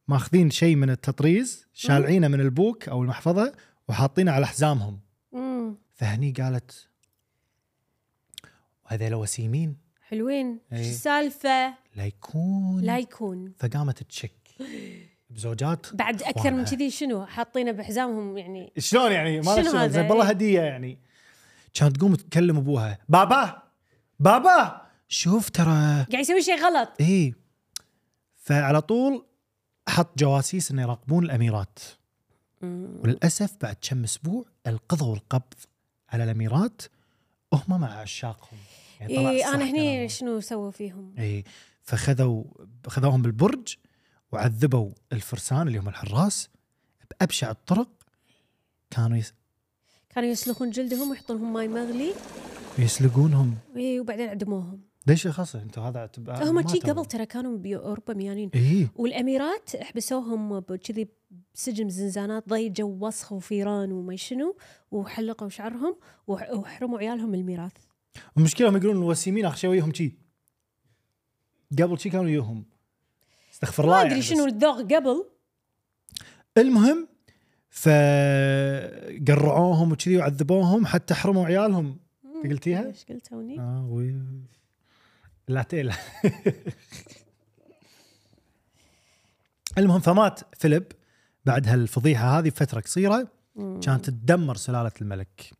[SPEAKER 1] ماخذين شيء من التطريز شالعينه من البوك او المحفظه وحاطينه على حزامهم
[SPEAKER 2] مم.
[SPEAKER 1] فهني قالت وهذيلا وسيمين
[SPEAKER 2] حلوين شو
[SPEAKER 1] إيه.
[SPEAKER 2] السالفه
[SPEAKER 1] لا يكون
[SPEAKER 2] لا يكون
[SPEAKER 1] فقامت تشك بزوجات
[SPEAKER 2] بعد اكثر من
[SPEAKER 1] إخوانها.
[SPEAKER 2] كذي شنو حاطينه بحزامهم يعني
[SPEAKER 1] شلون يعني ما أعرف
[SPEAKER 2] شنو
[SPEAKER 1] شلون
[SPEAKER 2] هذا؟
[SPEAKER 1] زين والله هديه يعني كانت تقوم تكلم ابوها بابا بابا شوف ترى
[SPEAKER 2] قاعد يسوي شيء غلط
[SPEAKER 1] ايه فعلى طول حط جواسيس انه يراقبون الاميرات إيه.
[SPEAKER 2] مم.
[SPEAKER 1] وللاسف بعد كم اسبوع القضوا القبض على الاميرات وهم مع عشاقهم يعني طلع
[SPEAKER 2] اي
[SPEAKER 1] صح
[SPEAKER 2] انا إيه، هني
[SPEAKER 1] كلامه.
[SPEAKER 2] شنو سووا فيهم؟
[SPEAKER 1] اي فخذوا خذوهم بالبرج وعذبوا الفرسان اللي هم الحراس بابشع الطرق كانوا يس-
[SPEAKER 2] كانوا يسلخون جلدهم ويحطون لهم ماي مغلي
[SPEAKER 1] يسلقونهم
[SPEAKER 2] إي، وبعدين عدموهم
[SPEAKER 1] ليش يخص انتم هذا
[SPEAKER 2] هم شي قبل ترى كانوا باوروبا ميانين
[SPEAKER 1] اي
[SPEAKER 2] والاميرات حبسوهم ب- كذي بسجن زنزانات ضي جو وسخ وفيران وما شنو وحلقوا شعرهم وح- وحرموا عيالهم من الميراث
[SPEAKER 1] المشكله هم يقولون الوسيمين اخشويهم شي قبل شي كانوا يوهم استغفر الله
[SPEAKER 2] ما
[SPEAKER 1] يعني
[SPEAKER 2] ادري
[SPEAKER 1] بس.
[SPEAKER 2] شنو الذوق قبل
[SPEAKER 1] المهم فقرعوهم وكذي وعذبوهم حتى حرموا عيالهم أنت قلتيها؟
[SPEAKER 2] ايش قلت توني؟
[SPEAKER 1] اه وي لا تيلا (laughs) المهم فمات فيليب بعد هالفضيحه هذه بفتره قصيره
[SPEAKER 2] مم.
[SPEAKER 1] كانت تدمر سلاله الملك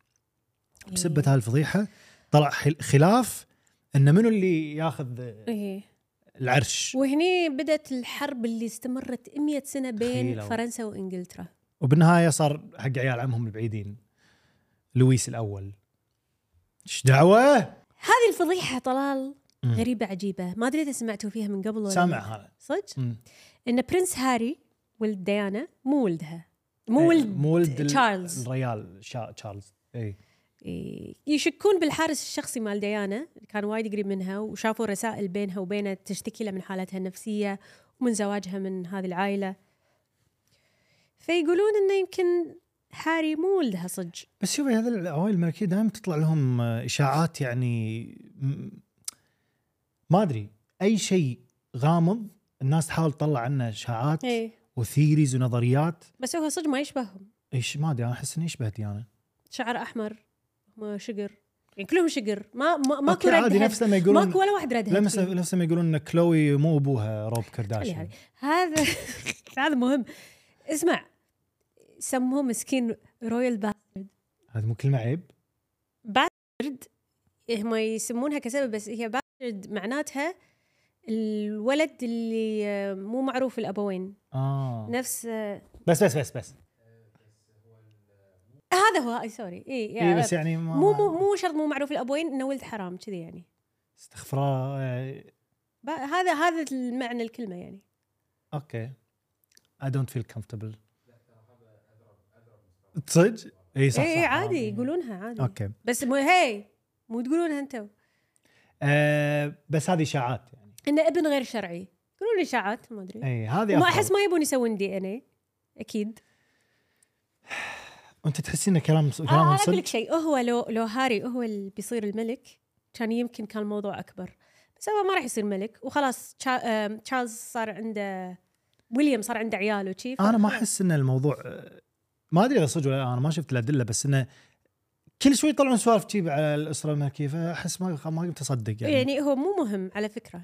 [SPEAKER 1] بسبه
[SPEAKER 2] إيه.
[SPEAKER 1] هالفضيحه طلع خل- خلاف ان منو اللي ياخذ
[SPEAKER 2] إيه.
[SPEAKER 1] العرش
[SPEAKER 2] وهني بدأت الحرب اللي استمرت 100 سنة بين
[SPEAKER 1] تخيلوا.
[SPEAKER 2] فرنسا وإنجلترا
[SPEAKER 1] وبالنهايه صار حق عيال عمهم البعيدين لويس الاول ايش دعوه؟
[SPEAKER 2] هذه الفضيحة طلال
[SPEAKER 1] مم.
[SPEAKER 2] غريبة عجيبة ما أدري إذا سمعتوا فيها من قبل ولا
[SPEAKER 1] سامع
[SPEAKER 2] لا.
[SPEAKER 1] هذا
[SPEAKER 2] صدق
[SPEAKER 1] مم.
[SPEAKER 2] إن برنس هاري ولد ديانا مو ولدها مو
[SPEAKER 1] إيه،
[SPEAKER 2] ولد
[SPEAKER 1] مو ولد ال-
[SPEAKER 2] تشارلز.
[SPEAKER 1] الريال شا... تشارلز اي
[SPEAKER 2] إيه، يشكون بالحارس الشخصي مال ديانا كان وايد قريب منها وشافوا رسائل بينها وبينه تشتكي له من حالتها النفسية ومن زواجها من هذه العائلة فيقولون إنه يمكن هاري مو ولدها صدق
[SPEAKER 1] بس شوفي هذا العوائل الملكيه دائما تطلع لهم آه، اشاعات يعني م- ما ادري اي شيء غامض الناس تحاول تطلع عنه اشاعات
[SPEAKER 2] إيه.
[SPEAKER 1] وثيريز ونظريات
[SPEAKER 2] بس هو صدق ما يشبههم
[SPEAKER 1] ايش ما ادري انا احس اني شبهت يعني
[SPEAKER 2] شعر احمر ما شقر يعني كلهم شقر ما ما ماكو
[SPEAKER 1] أوكي،
[SPEAKER 2] رد
[SPEAKER 1] عادي
[SPEAKER 2] هد.
[SPEAKER 1] نفس لما يقولون
[SPEAKER 2] ماكو ولا واحد رد هد
[SPEAKER 1] لما
[SPEAKER 2] فيه.
[SPEAKER 1] نفس لما يقولون ان كلوي مو ابوها روب
[SPEAKER 2] خلي
[SPEAKER 1] كارداشيان
[SPEAKER 2] هذه. هذا (laughs) هذا مهم اسمع سموه مسكين رويال با-
[SPEAKER 1] هذا مو كلمه عيب
[SPEAKER 2] باسترد إيه، هم يسمونها كسبب بس هي باسترد معناتها الولد اللي آه، مو معروف الابوين
[SPEAKER 1] اه
[SPEAKER 2] نفس آه،
[SPEAKER 1] بس بس بس بس
[SPEAKER 2] هذا هو اي سوري اي
[SPEAKER 1] اي
[SPEAKER 2] يعني
[SPEAKER 1] بس يعني ما
[SPEAKER 2] مو مو مو شرط مو معروف الابوين انه ولد حرام كذي يعني
[SPEAKER 1] استغفر الله آه،
[SPEAKER 2] با- هذا هذا المعنى الكلمه يعني
[SPEAKER 1] اوكي اي دونت فيل كومفورتبل تصدق؟ اي صح
[SPEAKER 2] اي
[SPEAKER 1] صح
[SPEAKER 2] إيه، عادي
[SPEAKER 1] آه.
[SPEAKER 2] يقولونها عادي
[SPEAKER 1] اوكي
[SPEAKER 2] بس مو هي مو تقولونها انتم
[SPEAKER 1] آه بس هذه اشاعات يعني
[SPEAKER 2] انه ابن غير شرعي يقولون اشاعات ما ادري
[SPEAKER 1] اي هذه
[SPEAKER 2] ما
[SPEAKER 1] أفضل.
[SPEAKER 2] احس ما يبون يسوون دي إيه. ان اي اكيد
[SPEAKER 1] انت تحسين كلام
[SPEAKER 2] آه انا
[SPEAKER 1] كلام
[SPEAKER 2] اقول لك
[SPEAKER 1] صدق؟
[SPEAKER 2] شيء هو لو لو هاري هو اللي بيصير الملك كان يمكن كان الموضوع اكبر بس هو ما راح يصير ملك وخلاص تشا- آم، تشارلز صار عنده ويليام صار عنده عيال وشي
[SPEAKER 1] انا ما احس ان الموضوع آه، ما ادري اذا صدق ولا لا، انا ما شفت الادله بس انه كل شوي يطلعون سوالف تجيب على الاسره الملكيه فاحس ما ما قمت اصدق يعني, يعني
[SPEAKER 2] يعني هو مو مهم على فكره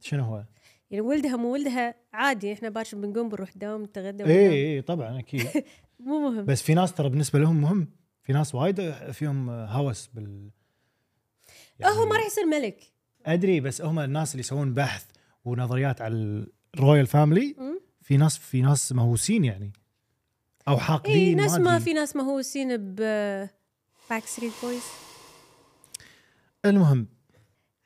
[SPEAKER 1] شنو هو؟
[SPEAKER 2] يعني ولدها مو ولدها عادي احنا باكر بنقوم بنروح دوام نتغدى وننام.
[SPEAKER 1] اي اي طبعا اكيد
[SPEAKER 2] مو مهم
[SPEAKER 1] بس في ناس ترى بالنسبه لهم مهم في ناس وايد فيهم هوس بال يعني
[SPEAKER 2] هو ما راح يصير ملك
[SPEAKER 1] ادري بس هم الناس اللي يسوون بحث ونظريات على الرويال فاميلي في ناس في ناس مهووسين يعني او حاقدين
[SPEAKER 2] اي إيه، ناس ما
[SPEAKER 1] أدري.
[SPEAKER 2] في ناس مهووسين ب باك ستريت بويز
[SPEAKER 1] المهم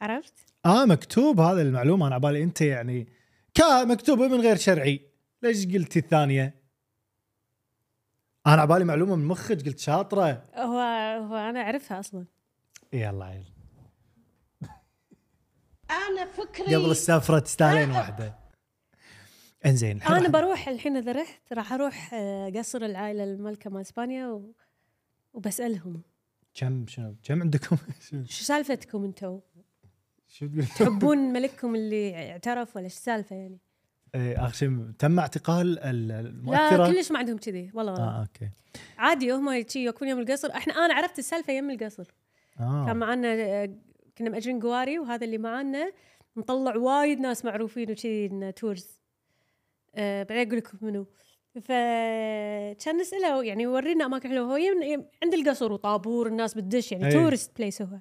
[SPEAKER 2] عرفت؟
[SPEAKER 1] اه مكتوب هذا المعلومه انا عبالي انت يعني كا مكتوب من غير شرعي ليش قلتي الثانيه؟ انا عبالي معلومه من مخك قلت شاطره
[SPEAKER 2] هو هو انا اعرفها اصلا
[SPEAKER 1] يلا عيل
[SPEAKER 4] انا فكري
[SPEAKER 1] قبل السفره تستاهلين واحده انزين الحين
[SPEAKER 2] انا
[SPEAKER 1] راح-
[SPEAKER 2] بروح الحين اذا رحت راح اروح آه، قصر العائله المالكه مال اسبانيا و... وبسالهم
[SPEAKER 1] كم شنو كم عندكم (laughs) شو-
[SPEAKER 2] شو سالفتكم انتو؟
[SPEAKER 1] شو تقول؟
[SPEAKER 2] تحبون ملككم اللي اعترف ولا شو السالفه يعني؟
[SPEAKER 1] (laughs) إيه، اخر شيء تم اعتقال ال-
[SPEAKER 2] لا
[SPEAKER 1] المؤثره
[SPEAKER 2] كلش ما عندهم كذي والله والله
[SPEAKER 1] اه اوكي
[SPEAKER 2] عادي هم شي يوقفون يم القصر احنا انا عرفت السالفه يم القصر كان
[SPEAKER 1] اه
[SPEAKER 2] معنا آه، كنا مأجرين قواري وهذا اللي معنا نطلع وايد ناس معروفين وشي إنه تورز أه بعدين اقول لكم منو فكان نساله يعني يورينا اماكن حلوه هو يم... يم... عند القصر وطابور الناس بتدش يعني
[SPEAKER 1] أي.
[SPEAKER 2] تورست بليس هو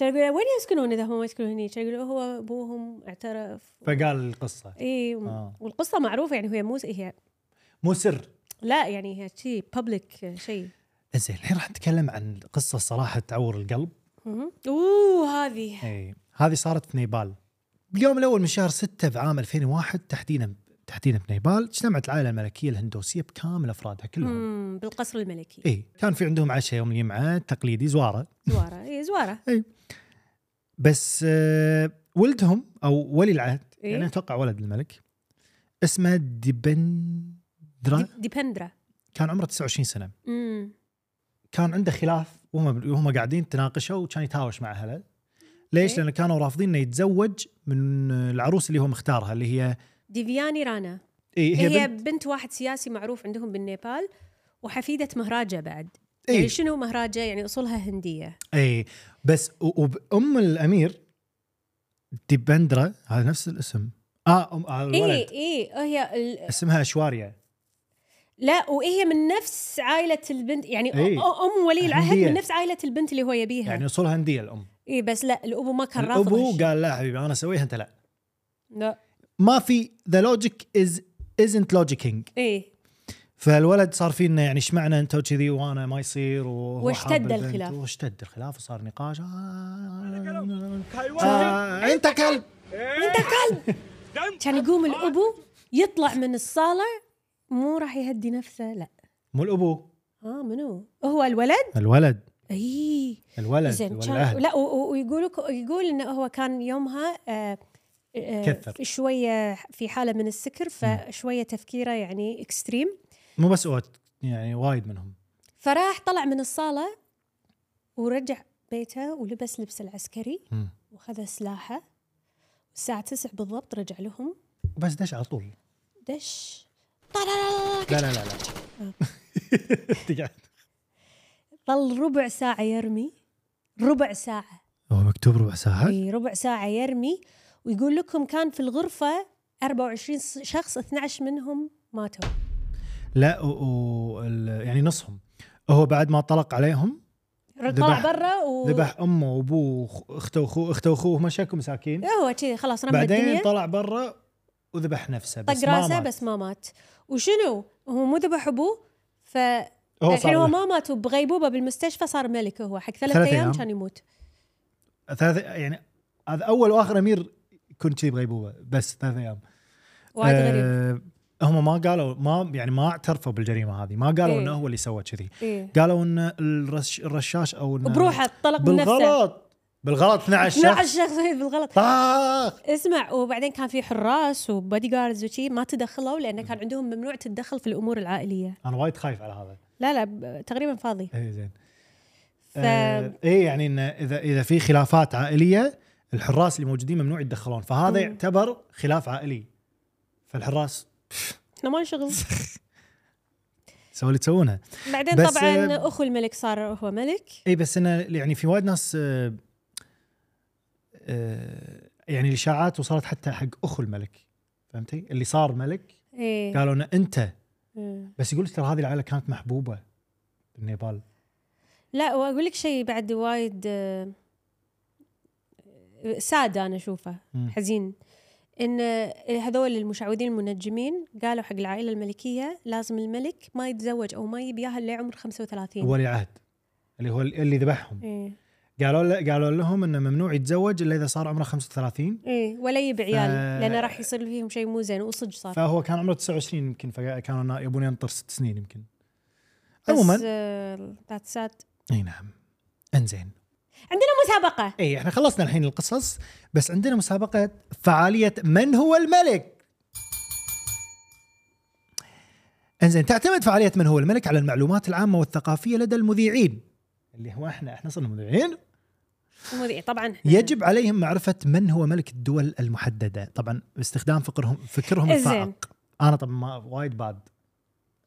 [SPEAKER 2] كان يقول وين يسكنون اذا هم ما يسكنون هني؟ كان يقول هو ابوهم اعترف
[SPEAKER 1] فقال القصه
[SPEAKER 2] اي
[SPEAKER 1] آه.
[SPEAKER 2] والقصه معروفه يعني هي مو هي
[SPEAKER 1] مو سر
[SPEAKER 2] لا يعني هي شي بابليك شيء
[SPEAKER 1] إيه. زين الحين راح نتكلم عن قصه صراحه تعور القلب
[SPEAKER 2] مهم. اوه هذه
[SPEAKER 1] اي هذه صارت في نيبال باليوم الاول من شهر 6 بعام 2001 تحديدا تحديدا في نيبال اجتمعت العائله الملكيه الهندوسيه بكامل افرادها كلهم
[SPEAKER 2] مم، بالقصر الملكي
[SPEAKER 1] اي كان في عندهم عشاء يوم الجمعه تقليدي زواره
[SPEAKER 2] زواره اي زواره
[SPEAKER 1] بس آه، ولدهم او ولي العهد
[SPEAKER 2] إيه؟
[SPEAKER 1] يعني اتوقع ولد الملك اسمه ديبندرا
[SPEAKER 2] دي- ديبندرا
[SPEAKER 1] كان عمره 29 سنه
[SPEAKER 2] امم
[SPEAKER 1] كان عنده خلاف وهم وهم قاعدين تناقشوا وكان يتهاوش مع اهله ليش؟
[SPEAKER 2] أوكي.
[SPEAKER 1] لانه كانوا رافضين انه يتزوج من العروس اللي هو مختارها اللي هي
[SPEAKER 2] ديفياني رانا
[SPEAKER 1] إيه
[SPEAKER 2] هي,
[SPEAKER 1] هي بنت
[SPEAKER 2] بنت, واحد سياسي معروف عندهم بالنيبال وحفيده مهراجه بعد
[SPEAKER 1] إيه
[SPEAKER 2] يعني شنو مهراجه يعني اصولها هنديه
[SPEAKER 1] اي بس و- وام الامير ديبندرا هذا نفس الاسم اه ام آه الولد
[SPEAKER 2] اي اي إيه، هي ال...
[SPEAKER 1] اسمها اشواريا
[SPEAKER 2] إيه. لا وهي من نفس عائله البنت يعني أ-
[SPEAKER 1] إيه.
[SPEAKER 2] ام ولي العهد
[SPEAKER 1] هندية.
[SPEAKER 2] من نفس عائله البنت اللي هو يبيها
[SPEAKER 1] يعني
[SPEAKER 2] يعني
[SPEAKER 1] اصولها هنديه الام
[SPEAKER 2] اي بس لا الابو ما كان رافض
[SPEAKER 1] الابو
[SPEAKER 2] هالشيء.
[SPEAKER 1] قال لا حبيبي انا اسويها انت لا
[SPEAKER 2] لا
[SPEAKER 1] ما في ذا لوجيك از isn't logicking
[SPEAKER 2] اي
[SPEAKER 1] فالولد صار فيه انه يعني ايش معنى انت وكذي وانا ما يصير وهو
[SPEAKER 2] واشتد
[SPEAKER 1] حاب البنت.
[SPEAKER 2] الخلاف.
[SPEAKER 1] واشتد الخلاف وصار نقاش آه، آه، انت كلب
[SPEAKER 2] انت كلب كان يقوم الابو يطلع من الصاله مو راح يهدي نفسه لا
[SPEAKER 1] مو الابو
[SPEAKER 2] اه منو هو الولد إيه.
[SPEAKER 1] الولد
[SPEAKER 2] اي
[SPEAKER 1] الولد
[SPEAKER 2] زين
[SPEAKER 1] ولي
[SPEAKER 2] كان-
[SPEAKER 1] العهد
[SPEAKER 2] لا و- و- ويقولوا ك- يقول انه هو كان يومها آه، آه،
[SPEAKER 1] كثر.
[SPEAKER 2] شويه في حاله من السكر فشويه تفكيره يعني اكستريم
[SPEAKER 1] مو بس اوت يعني وايد منهم
[SPEAKER 2] فراح طلع من الصاله ورجع بيته ولبس لبس العسكري
[SPEAKER 1] مم.
[SPEAKER 2] وخذ سلاحه الساعة 9 بالضبط رجع لهم
[SPEAKER 1] بس دش على طول
[SPEAKER 2] دش طلع-
[SPEAKER 1] لا لا لا
[SPEAKER 2] (laughs)
[SPEAKER 1] لا
[SPEAKER 2] ظل ربع ساعة يرمي ربع ساعة
[SPEAKER 1] هو مكتوب ربع ساعة
[SPEAKER 2] اي ربع ساعة يرمي ويقول لكم كان في الغرفة 24 س- شخص 12 منهم ماتوا
[SPEAKER 1] لا و... و... ال- يعني نصهم هو بعد ما طلق عليهم
[SPEAKER 2] طلع
[SPEAKER 1] ذبح-
[SPEAKER 2] برا و
[SPEAKER 1] ذبح امه وابوه وأخ- اخته واخوه اخته واخوه مشاكم مساكين
[SPEAKER 2] إيه، هو كذي خلاص رمى
[SPEAKER 1] بعدين
[SPEAKER 2] الدنيا
[SPEAKER 1] طلع برا وذبح نفسه بس
[SPEAKER 2] طق
[SPEAKER 1] ما
[SPEAKER 2] راسه
[SPEAKER 1] مات.
[SPEAKER 2] بس ما مات وشنو هو مو ذبح ابوه ف
[SPEAKER 1] هو
[SPEAKER 2] الحين هو
[SPEAKER 1] صار
[SPEAKER 2] ما مات وبغيبوبه بالمستشفى صار ملك هو حق ثلاث
[SPEAKER 1] ثلاث
[SPEAKER 2] ايام
[SPEAKER 1] أيام.
[SPEAKER 2] كان يموت
[SPEAKER 1] ثلاث يعني هذا اول واخر امير يكون كذي بغيبوبه بس ثلاث ايام
[SPEAKER 2] وايد غريب
[SPEAKER 1] آه، هم ما قالوا ما يعني ما اعترفوا بالجريمه هذه ما قالوا
[SPEAKER 2] إيه.
[SPEAKER 1] انه هو اللي سوى كذي
[SPEAKER 2] إيه.
[SPEAKER 1] قالوا ان الرش الرشاش او إن
[SPEAKER 2] بروحه طلق من (laughs)
[SPEAKER 1] نعم.
[SPEAKER 2] نفسه
[SPEAKER 1] بالغلط بالغلط 12
[SPEAKER 2] 12
[SPEAKER 1] شخص
[SPEAKER 2] شخص بالغلط
[SPEAKER 1] طاخ
[SPEAKER 2] اسمع وبعدين كان في حراس وبادي جاردز وشي ما تدخلوا لانه كان عندهم ممنوع تتدخل في الامور العائليه
[SPEAKER 1] انا وايد خايف على هذا
[SPEAKER 2] لا لا ب- تقريبا فاضي
[SPEAKER 1] اي زين
[SPEAKER 2] ف...
[SPEAKER 1] آه ايه يعني انه اذا اذا في خلافات عائليه الحراس اللي موجودين ممنوع يتدخلون فهذا
[SPEAKER 2] مم.
[SPEAKER 1] يعتبر خلاف عائلي فالحراس
[SPEAKER 2] احنا ما
[SPEAKER 1] (laughs)
[SPEAKER 2] نشغل
[SPEAKER 1] سووا اللي تسوونه
[SPEAKER 2] بعدين
[SPEAKER 1] بس،
[SPEAKER 2] طبعا
[SPEAKER 1] آه،
[SPEAKER 2] اخو الملك صار هو ملك
[SPEAKER 1] اي بس انه يعني في وايد ناس آه آه يعني الاشاعات وصلت حتى حق اخو الملك فهمتي؟ اللي صار ملك
[SPEAKER 2] ايه
[SPEAKER 1] قالوا انه انت
[SPEAKER 2] مم.
[SPEAKER 1] بس يقول لك ترى هذه العائله كانت محبوبه بالنيبال
[SPEAKER 2] لا واقول لك شيء بعد وايد آه، ساد انا اشوفه
[SPEAKER 1] مم.
[SPEAKER 2] حزين ان آه، هذول المشعوذين المنجمين قالوا حق العائله الملكيه لازم الملك ما يتزوج او ما يبيها الا عمر 35
[SPEAKER 1] ولي عهد اللي هو اللي ذبحهم
[SPEAKER 2] ايه
[SPEAKER 1] قالوا له قالوا لهم انه ممنوع يتزوج الا اذا صار عمره 35
[SPEAKER 2] ايه ولا يبي عيال
[SPEAKER 1] ف-
[SPEAKER 2] لانه راح يصير فيهم شيء مو زين وصج صار
[SPEAKER 1] فهو كان عمره 29 يمكن فكانوا يبون ينطر ست سنين يمكن
[SPEAKER 2] بس،
[SPEAKER 1] عموما
[SPEAKER 2] آه، ذات ساد
[SPEAKER 1] اي نعم انزين
[SPEAKER 2] عندنا مسابقه
[SPEAKER 1] اي احنا إيه، خلصنا الحين القصص بس عندنا مسابقه فعاليه من هو الملك انزين تعتمد فعاليه من هو الملك على المعلومات العامه والثقافيه لدى المذيعين اللي هو احنا احنا صرنا مذيعين
[SPEAKER 2] المذيع طبعا إحنا-
[SPEAKER 1] (laughs) يجب عليهم معرفه من هو ملك الدول المحدده طبعا باستخدام فكرهم فكرهم
[SPEAKER 2] إنزين.
[SPEAKER 1] الفائق انا طبعا ما وايد باد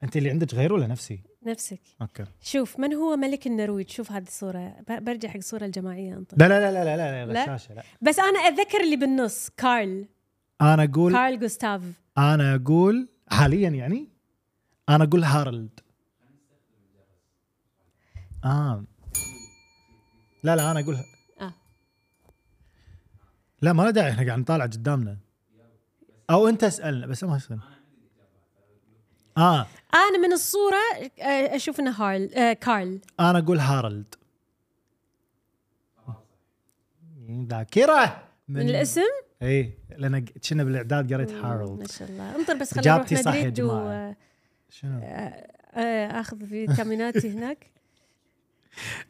[SPEAKER 1] انت اللي عندك غير ولا نفسي
[SPEAKER 2] نفسك
[SPEAKER 1] اوكي
[SPEAKER 2] شوف من هو ملك النرويج شوف هذه الصوره ب- برجع حق الصوره الجماعيه انطر
[SPEAKER 1] لا لا لا لا لا لا, لا,
[SPEAKER 2] لا؟
[SPEAKER 1] الشاشة، لا.
[SPEAKER 2] بس انا اتذكر اللي بالنص كارل
[SPEAKER 1] انا اقول
[SPEAKER 2] كارل جوستاف
[SPEAKER 1] انا اقول حاليا يعني انا اقول هارلد اه لا لا انا اقول
[SPEAKER 2] اه
[SPEAKER 1] لا ما له داعي احنا قاعد نطالع قدامنا او انت اسالنا بس ما اسال اه
[SPEAKER 2] انا من الصوره آه، اشوف انه هارل آه، كارل
[SPEAKER 1] انا اقول هارلد ذاكره
[SPEAKER 2] من الاسم
[SPEAKER 1] اي لان إيه، كنا بالاعداد قريت هارولد
[SPEAKER 2] ما شاء الله انطر بس خلينا نروح
[SPEAKER 1] إجابتي صح يا
[SPEAKER 2] مدريد
[SPEAKER 1] جماعة.
[SPEAKER 2] و
[SPEAKER 1] شنو؟
[SPEAKER 2] آه، اخذ
[SPEAKER 1] (laughs)
[SPEAKER 2] فيتاميناتي هناك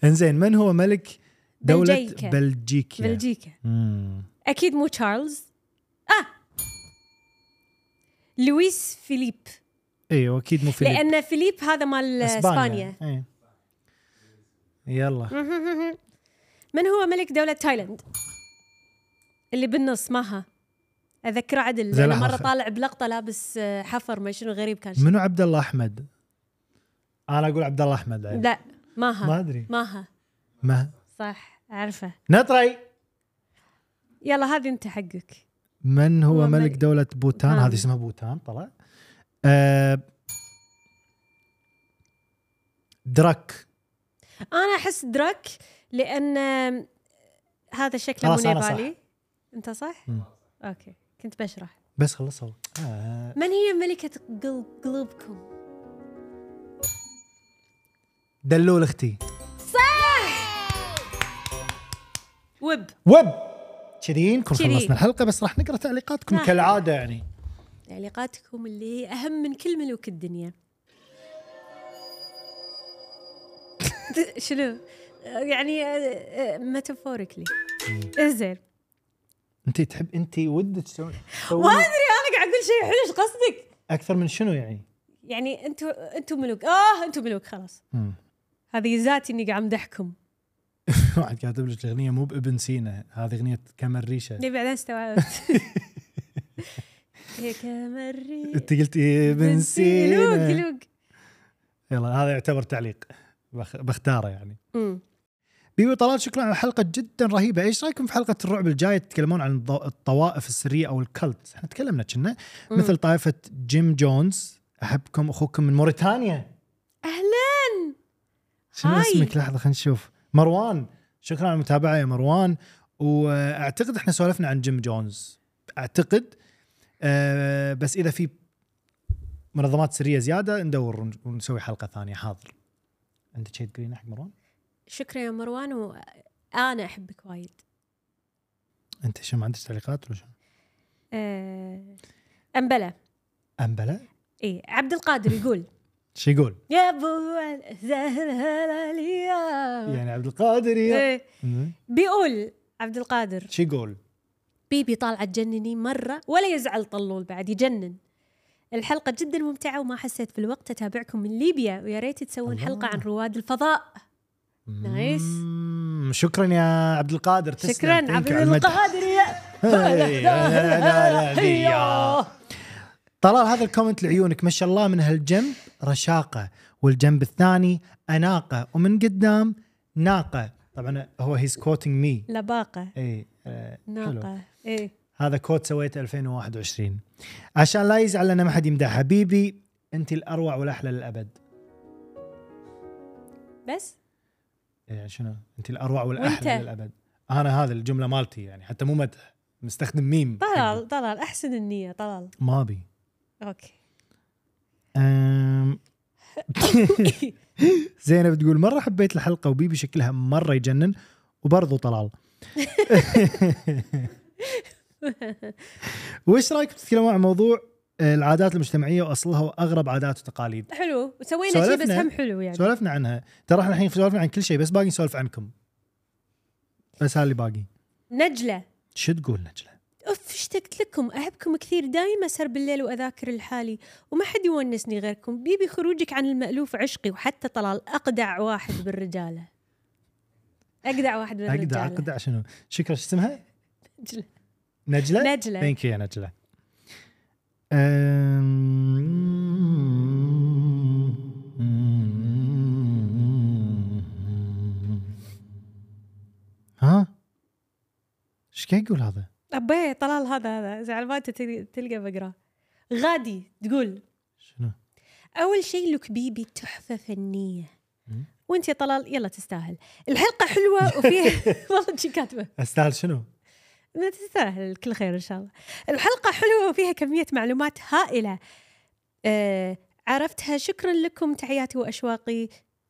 [SPEAKER 1] انزين من هو ملك دولة بلجيكا؟
[SPEAKER 2] بلجيكا.
[SPEAKER 1] بلجيكا
[SPEAKER 2] بلجيكا
[SPEAKER 1] مم.
[SPEAKER 2] اكيد مو تشارلز اه لويس فيليب
[SPEAKER 1] ايوه اكيد مو فيليب
[SPEAKER 2] لان فيليب هذا مال اسبانيا
[SPEAKER 1] إيه. يلا
[SPEAKER 2] (laughs) من هو ملك دولة تايلاند؟ اللي بالنص ماها اذكر عدل
[SPEAKER 1] زين
[SPEAKER 2] لأن
[SPEAKER 1] لحظة.
[SPEAKER 2] مره طالع بلقطه لابس آه، حفر ما شنو غريب كان شكله.
[SPEAKER 1] منو عبد الله احمد؟ انا اقول عبد الله احمد عاد.
[SPEAKER 2] لا ماها
[SPEAKER 1] ما ادري
[SPEAKER 2] ماها
[SPEAKER 1] ما
[SPEAKER 2] صح اعرفه
[SPEAKER 1] نطري
[SPEAKER 2] يلا هذه انت حقك
[SPEAKER 1] من هو,
[SPEAKER 2] هو
[SPEAKER 1] ملك آه.
[SPEAKER 2] ملك-
[SPEAKER 1] دولة بوتان؟
[SPEAKER 2] بوتان.
[SPEAKER 1] هذه اسمها بوتان طلع آه دراك
[SPEAKER 2] انا احس دراك لان آم، هذا شكله مو
[SPEAKER 1] خلاص أنا صح.
[SPEAKER 2] نيبالي انت صح؟
[SPEAKER 1] مم.
[SPEAKER 2] اوكي كنت بشرح
[SPEAKER 1] بس خلصوا آه.
[SPEAKER 2] من هي ملكة قلب قلوبكم؟
[SPEAKER 1] دلول اختي
[SPEAKER 2] وب
[SPEAKER 1] وب كذي نكون
[SPEAKER 2] كذي.
[SPEAKER 1] خلصنا الحلقه بس راح نقرا تعليقاتكم
[SPEAKER 2] راح.
[SPEAKER 1] كالعاده يعني
[SPEAKER 2] تعليقاتكم اللي هي أهم من كل ملوك الدنيا (laughs) شنو؟ يعني ميتافوريكلي زين
[SPEAKER 1] انت تحب انت ودك تسوي تسوي
[SPEAKER 2] ما ادري انا قاعد اقول شيء حلو ايش قصدك؟
[SPEAKER 1] اكثر من شنو يعني؟
[SPEAKER 2] يعني انتم انتم ملوك اه انتم ملوك خلاص
[SPEAKER 1] مم. (laughs)
[SPEAKER 2] هذه ذاتي اني قاعد امدحكم
[SPEAKER 1] واحد كاتب لك الاغنيه مو بابن سينا هذه اغنيه كمر ريشه
[SPEAKER 2] ليه بعدين استوعبت هيك مري
[SPEAKER 1] انت قلتي إيه، ابن
[SPEAKER 2] لوق
[SPEAKER 1] سينا
[SPEAKER 2] لوق
[SPEAKER 1] يلا هذا يعتبر تعليق بخ- بختاره يعني
[SPEAKER 2] أمم.
[SPEAKER 1] بيبي طلال شكرا على الحلقه جدا رهيبه ايش رايكم في حلقه الرعب الجايه تتكلمون عن الض- الطوائف السريه او الكلت احنا تكلمنا كنا
[SPEAKER 2] مم.
[SPEAKER 1] مثل طائفه جيم جونز احبكم اخوكم من موريتانيا
[SPEAKER 2] اهلا
[SPEAKER 1] شنو
[SPEAKER 2] هاي.
[SPEAKER 1] اسمك لحظه خلينا نشوف مروان شكرا على المتابعه يا مروان واعتقد احنا سولفنا عن جيم جونز اعتقد أه بس اذا في منظمات سريه زياده ندور ون- ونسوي حلقه ثانيه حاضر عندك شيء تقولينه حق مروان
[SPEAKER 2] شكرا يا مروان وانا احبك وايد
[SPEAKER 1] انت شو ما عندك تعليقات ولا شو
[SPEAKER 2] آه، أمبلة
[SPEAKER 1] ام بلا
[SPEAKER 2] إيه عبد القادر يقول (laughs)
[SPEAKER 1] شو يقول
[SPEAKER 2] يا أبو زهلالية
[SPEAKER 1] يعني عبد القادر يا
[SPEAKER 2] إيه بيقول عبد القادر
[SPEAKER 1] شو يقول
[SPEAKER 2] بيبي طالعة تجنني مرة ولا يزعل طلول بعد يجنن الحلقة جدا ممتعة وما حسيت بالوقت أتابعكم من ليبيا ويا ريت تسوون
[SPEAKER 1] الله.
[SPEAKER 2] حلقة عن رواد الفضاء نايس.
[SPEAKER 1] مم، شكرا يا عبد القادر تسلم. Thank you إيه،
[SPEAKER 2] شكرا عبد
[SPEAKER 1] على المدح. (laughs)
[SPEAKER 2] القادر أيوه. يا
[SPEAKER 1] هاي، هلا، هلا،
[SPEAKER 2] (laughs)
[SPEAKER 1] هلا، هيا. طلال هذا الكومنت لعيونك ما شاء الله من هالجنب رشاقه والجنب الثاني اناقه ومن قدام ناقه طبعا هو هيز كوتنج مي
[SPEAKER 2] لباقة
[SPEAKER 1] اي آه، حلو
[SPEAKER 2] ناقة إيه
[SPEAKER 1] هذا كوت سويته 2021 عشان لا يزعل لنا ما حد يمدح حبيبي انت الاروع والاحلى للابد
[SPEAKER 2] بس
[SPEAKER 1] يعني شنو انت الاروع والاحلى
[SPEAKER 2] وأنت؟
[SPEAKER 1] للابد انا هذا الجمله مالتي يعني حتى مو مدح مستخدم ميم
[SPEAKER 2] طلال طلال أحسن النية طلال
[SPEAKER 1] ما ابي
[SPEAKER 2] أوكي
[SPEAKER 1] (laughs) أم. زينب تقول مره حبيت الحلقه وبيبي شكلها مره يجنن وبرضه
[SPEAKER 2] (laughs)
[SPEAKER 1] طلال وايش رايكم تتكلمون عن موضوع آه، العادات المجتمعيه واصلها واغرب عادات وتقاليد
[SPEAKER 2] حلو وسوينا شيء بس
[SPEAKER 1] سولفنا.
[SPEAKER 2] هم حلو يعني
[SPEAKER 1] سولفنا عنها ترى احنا الحين سولفنا عن كل شيء بس باقي نسولف عنكم بس هذا اللي باقي
[SPEAKER 2] نجلة
[SPEAKER 1] شو تقول نجله
[SPEAKER 2] اوف اشتقت لكم احبكم كثير دايما اسهر بالليل واذاكر لحالي وما حد يونسني غيركم بيبي خروجك عن المالوف عشقي وحتى طلال اقدع واحد بالرجاله اقدع واحد بالرجاله
[SPEAKER 1] اقدع اقدع شنو شكرا شو اسمها
[SPEAKER 2] نجلة.
[SPEAKER 1] نجله
[SPEAKER 2] نجلة
[SPEAKER 1] ثانك يو يا نجلة Um, أم- ها ايش قاعد يقول هذا؟
[SPEAKER 2] ابي طلال هذا هذا زعل ما أنت تل- تلقى بقراه غادي تقول
[SPEAKER 1] شنو؟
[SPEAKER 2] اول شيء لك بيبي تحفه فنيه
[SPEAKER 1] مم.
[SPEAKER 2] وانت يا طلال يلا تستاهل الحلقه حلوه وفيها (laughs) والله شي كاتبه
[SPEAKER 1] استاهل شنو؟
[SPEAKER 2] ما تستاهل كل خير ان شاء الله الحلقه حلوه وفيها كميه معلومات هائله آه عرفتها شكرا لكم تحياتي واشواقي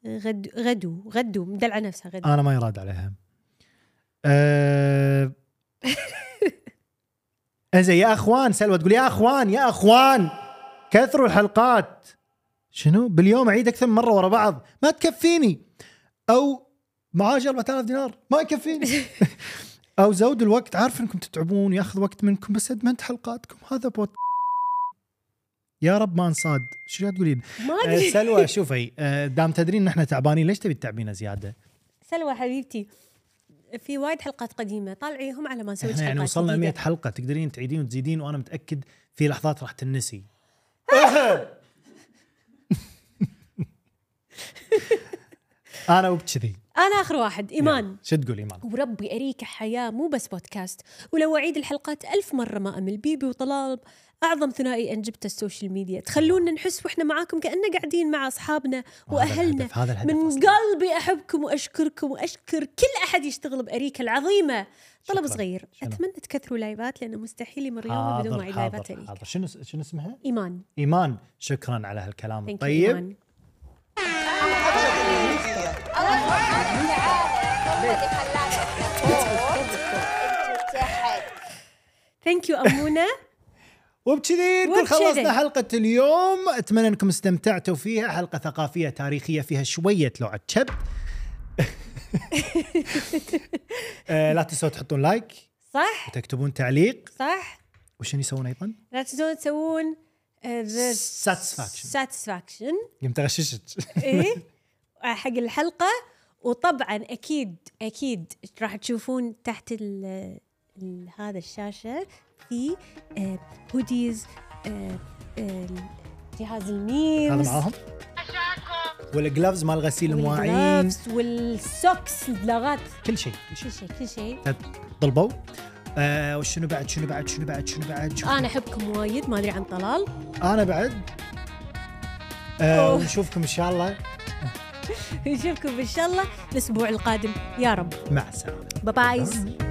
[SPEAKER 2] غد غدو غدو مدلعه نفسها غدو
[SPEAKER 1] انا ما يراد عليها. آه، انزين يا اخوان سلوى تقول يا اخوان يا اخوان كثروا الحلقات شنو باليوم اعيد اكثر من مره ورا بعض ما تكفيني او معاش 4000 دينار ما يكفيني او زود الوقت عارف انكم تتعبون ياخذ وقت منكم بس ادمنت حلقاتكم هذا بوت يا رب ما انصاد شو قاعد تقولين
[SPEAKER 2] ما
[SPEAKER 1] آه،
[SPEAKER 2] ادري
[SPEAKER 1] سلوى شوفي آه، دام تدرين ان احنا تعبانين ليش تبي تعبينا زياده
[SPEAKER 2] سلوى حبيبتي في وايد حلقات قديمه طالعيهم على ما نسوي
[SPEAKER 1] احنا
[SPEAKER 2] حلقات
[SPEAKER 1] يعني وصلنا 100
[SPEAKER 2] جديدة.
[SPEAKER 1] حلقه تقدرين تعيدين وتزيدين وانا متاكد في لحظات راح
[SPEAKER 2] (laughs)
[SPEAKER 1] تنسي انا وبكذي
[SPEAKER 2] انا اخر واحد ايمان
[SPEAKER 1] شو تقول ايمان؟
[SPEAKER 2] وربي أريك حياة مو بس بودكاست ولو أعيد الحلقات ألف مرة ما أمل بيبي وطلال أعظم ثنائي أنجبته السوشيال ميديا تخلونا نحس وإحنا معاكم كأننا قاعدين مع أصحابنا وأهلنا
[SPEAKER 1] الهدف- هذا الهدف
[SPEAKER 2] من
[SPEAKER 1] أصلاً.
[SPEAKER 2] قلبي أحبكم وأشكركم وأشكر كل أحد يشتغل بأريكة العظيمة طلب
[SPEAKER 1] شكراً.
[SPEAKER 2] صغير
[SPEAKER 1] شنو؟
[SPEAKER 2] أتمنى تكثروا لايفات لأنه مستحيل يمر يوم بدون ما
[SPEAKER 1] حاضر
[SPEAKER 2] أعيد لايفات
[SPEAKER 1] حاضر,
[SPEAKER 2] أريكة
[SPEAKER 1] حاضر شنو شنو اسمها؟
[SPEAKER 2] إيمان
[SPEAKER 1] ايمان شكرا على هالكلام طيب.
[SPEAKER 2] Thank you،
[SPEAKER 1] الطيب
[SPEAKER 2] إيمان. ثانك يو أمونة
[SPEAKER 1] وبكذي نكون
[SPEAKER 2] وبجذي.
[SPEAKER 1] خلصنا حلقة اليوم أتمنى أنكم استمتعتوا فيها حلقة ثقافية تاريخية فيها شوية لوعة شب آه، لا تنسوا تحطون لايك
[SPEAKER 2] صح
[SPEAKER 1] وتكتبون تعليق
[SPEAKER 2] صح
[SPEAKER 1] وشنو يسوون أيضا؟
[SPEAKER 2] لا تنسون تسوون آه، (laughs)
[SPEAKER 1] Satisfaction.
[SPEAKER 2] ساتسفاكشن
[SPEAKER 1] قمت أغششك (laughs)
[SPEAKER 2] ايه حق الحلقه وطبعا اكيد اكيد راح تشوفون تحت ال ال- هذا الشاشه في آه، هوديز آه، جهاز (laughs)
[SPEAKER 1] هذا
[SPEAKER 2] الميمز
[SPEAKER 1] معاهم والجلافز مال غسيل المواعين
[SPEAKER 2] والgloves والسوكس البلاغات
[SPEAKER 1] كل شيء كل شيء
[SPEAKER 2] كل شيء كل شيء
[SPEAKER 1] ضلبوا آه وشنو بعد شنو بعد شنو بعد شنو بعد شوف.
[SPEAKER 2] انا احبكم وايد ما ادري عن طلال (laughs)
[SPEAKER 1] انا بعد آه
[SPEAKER 2] أوه.
[SPEAKER 1] ونشوفكم ان شاء الله
[SPEAKER 2] نشوفكم ان شاء الله الاسبوع القادم يا رب
[SPEAKER 1] مع السلامه
[SPEAKER 2] باي باي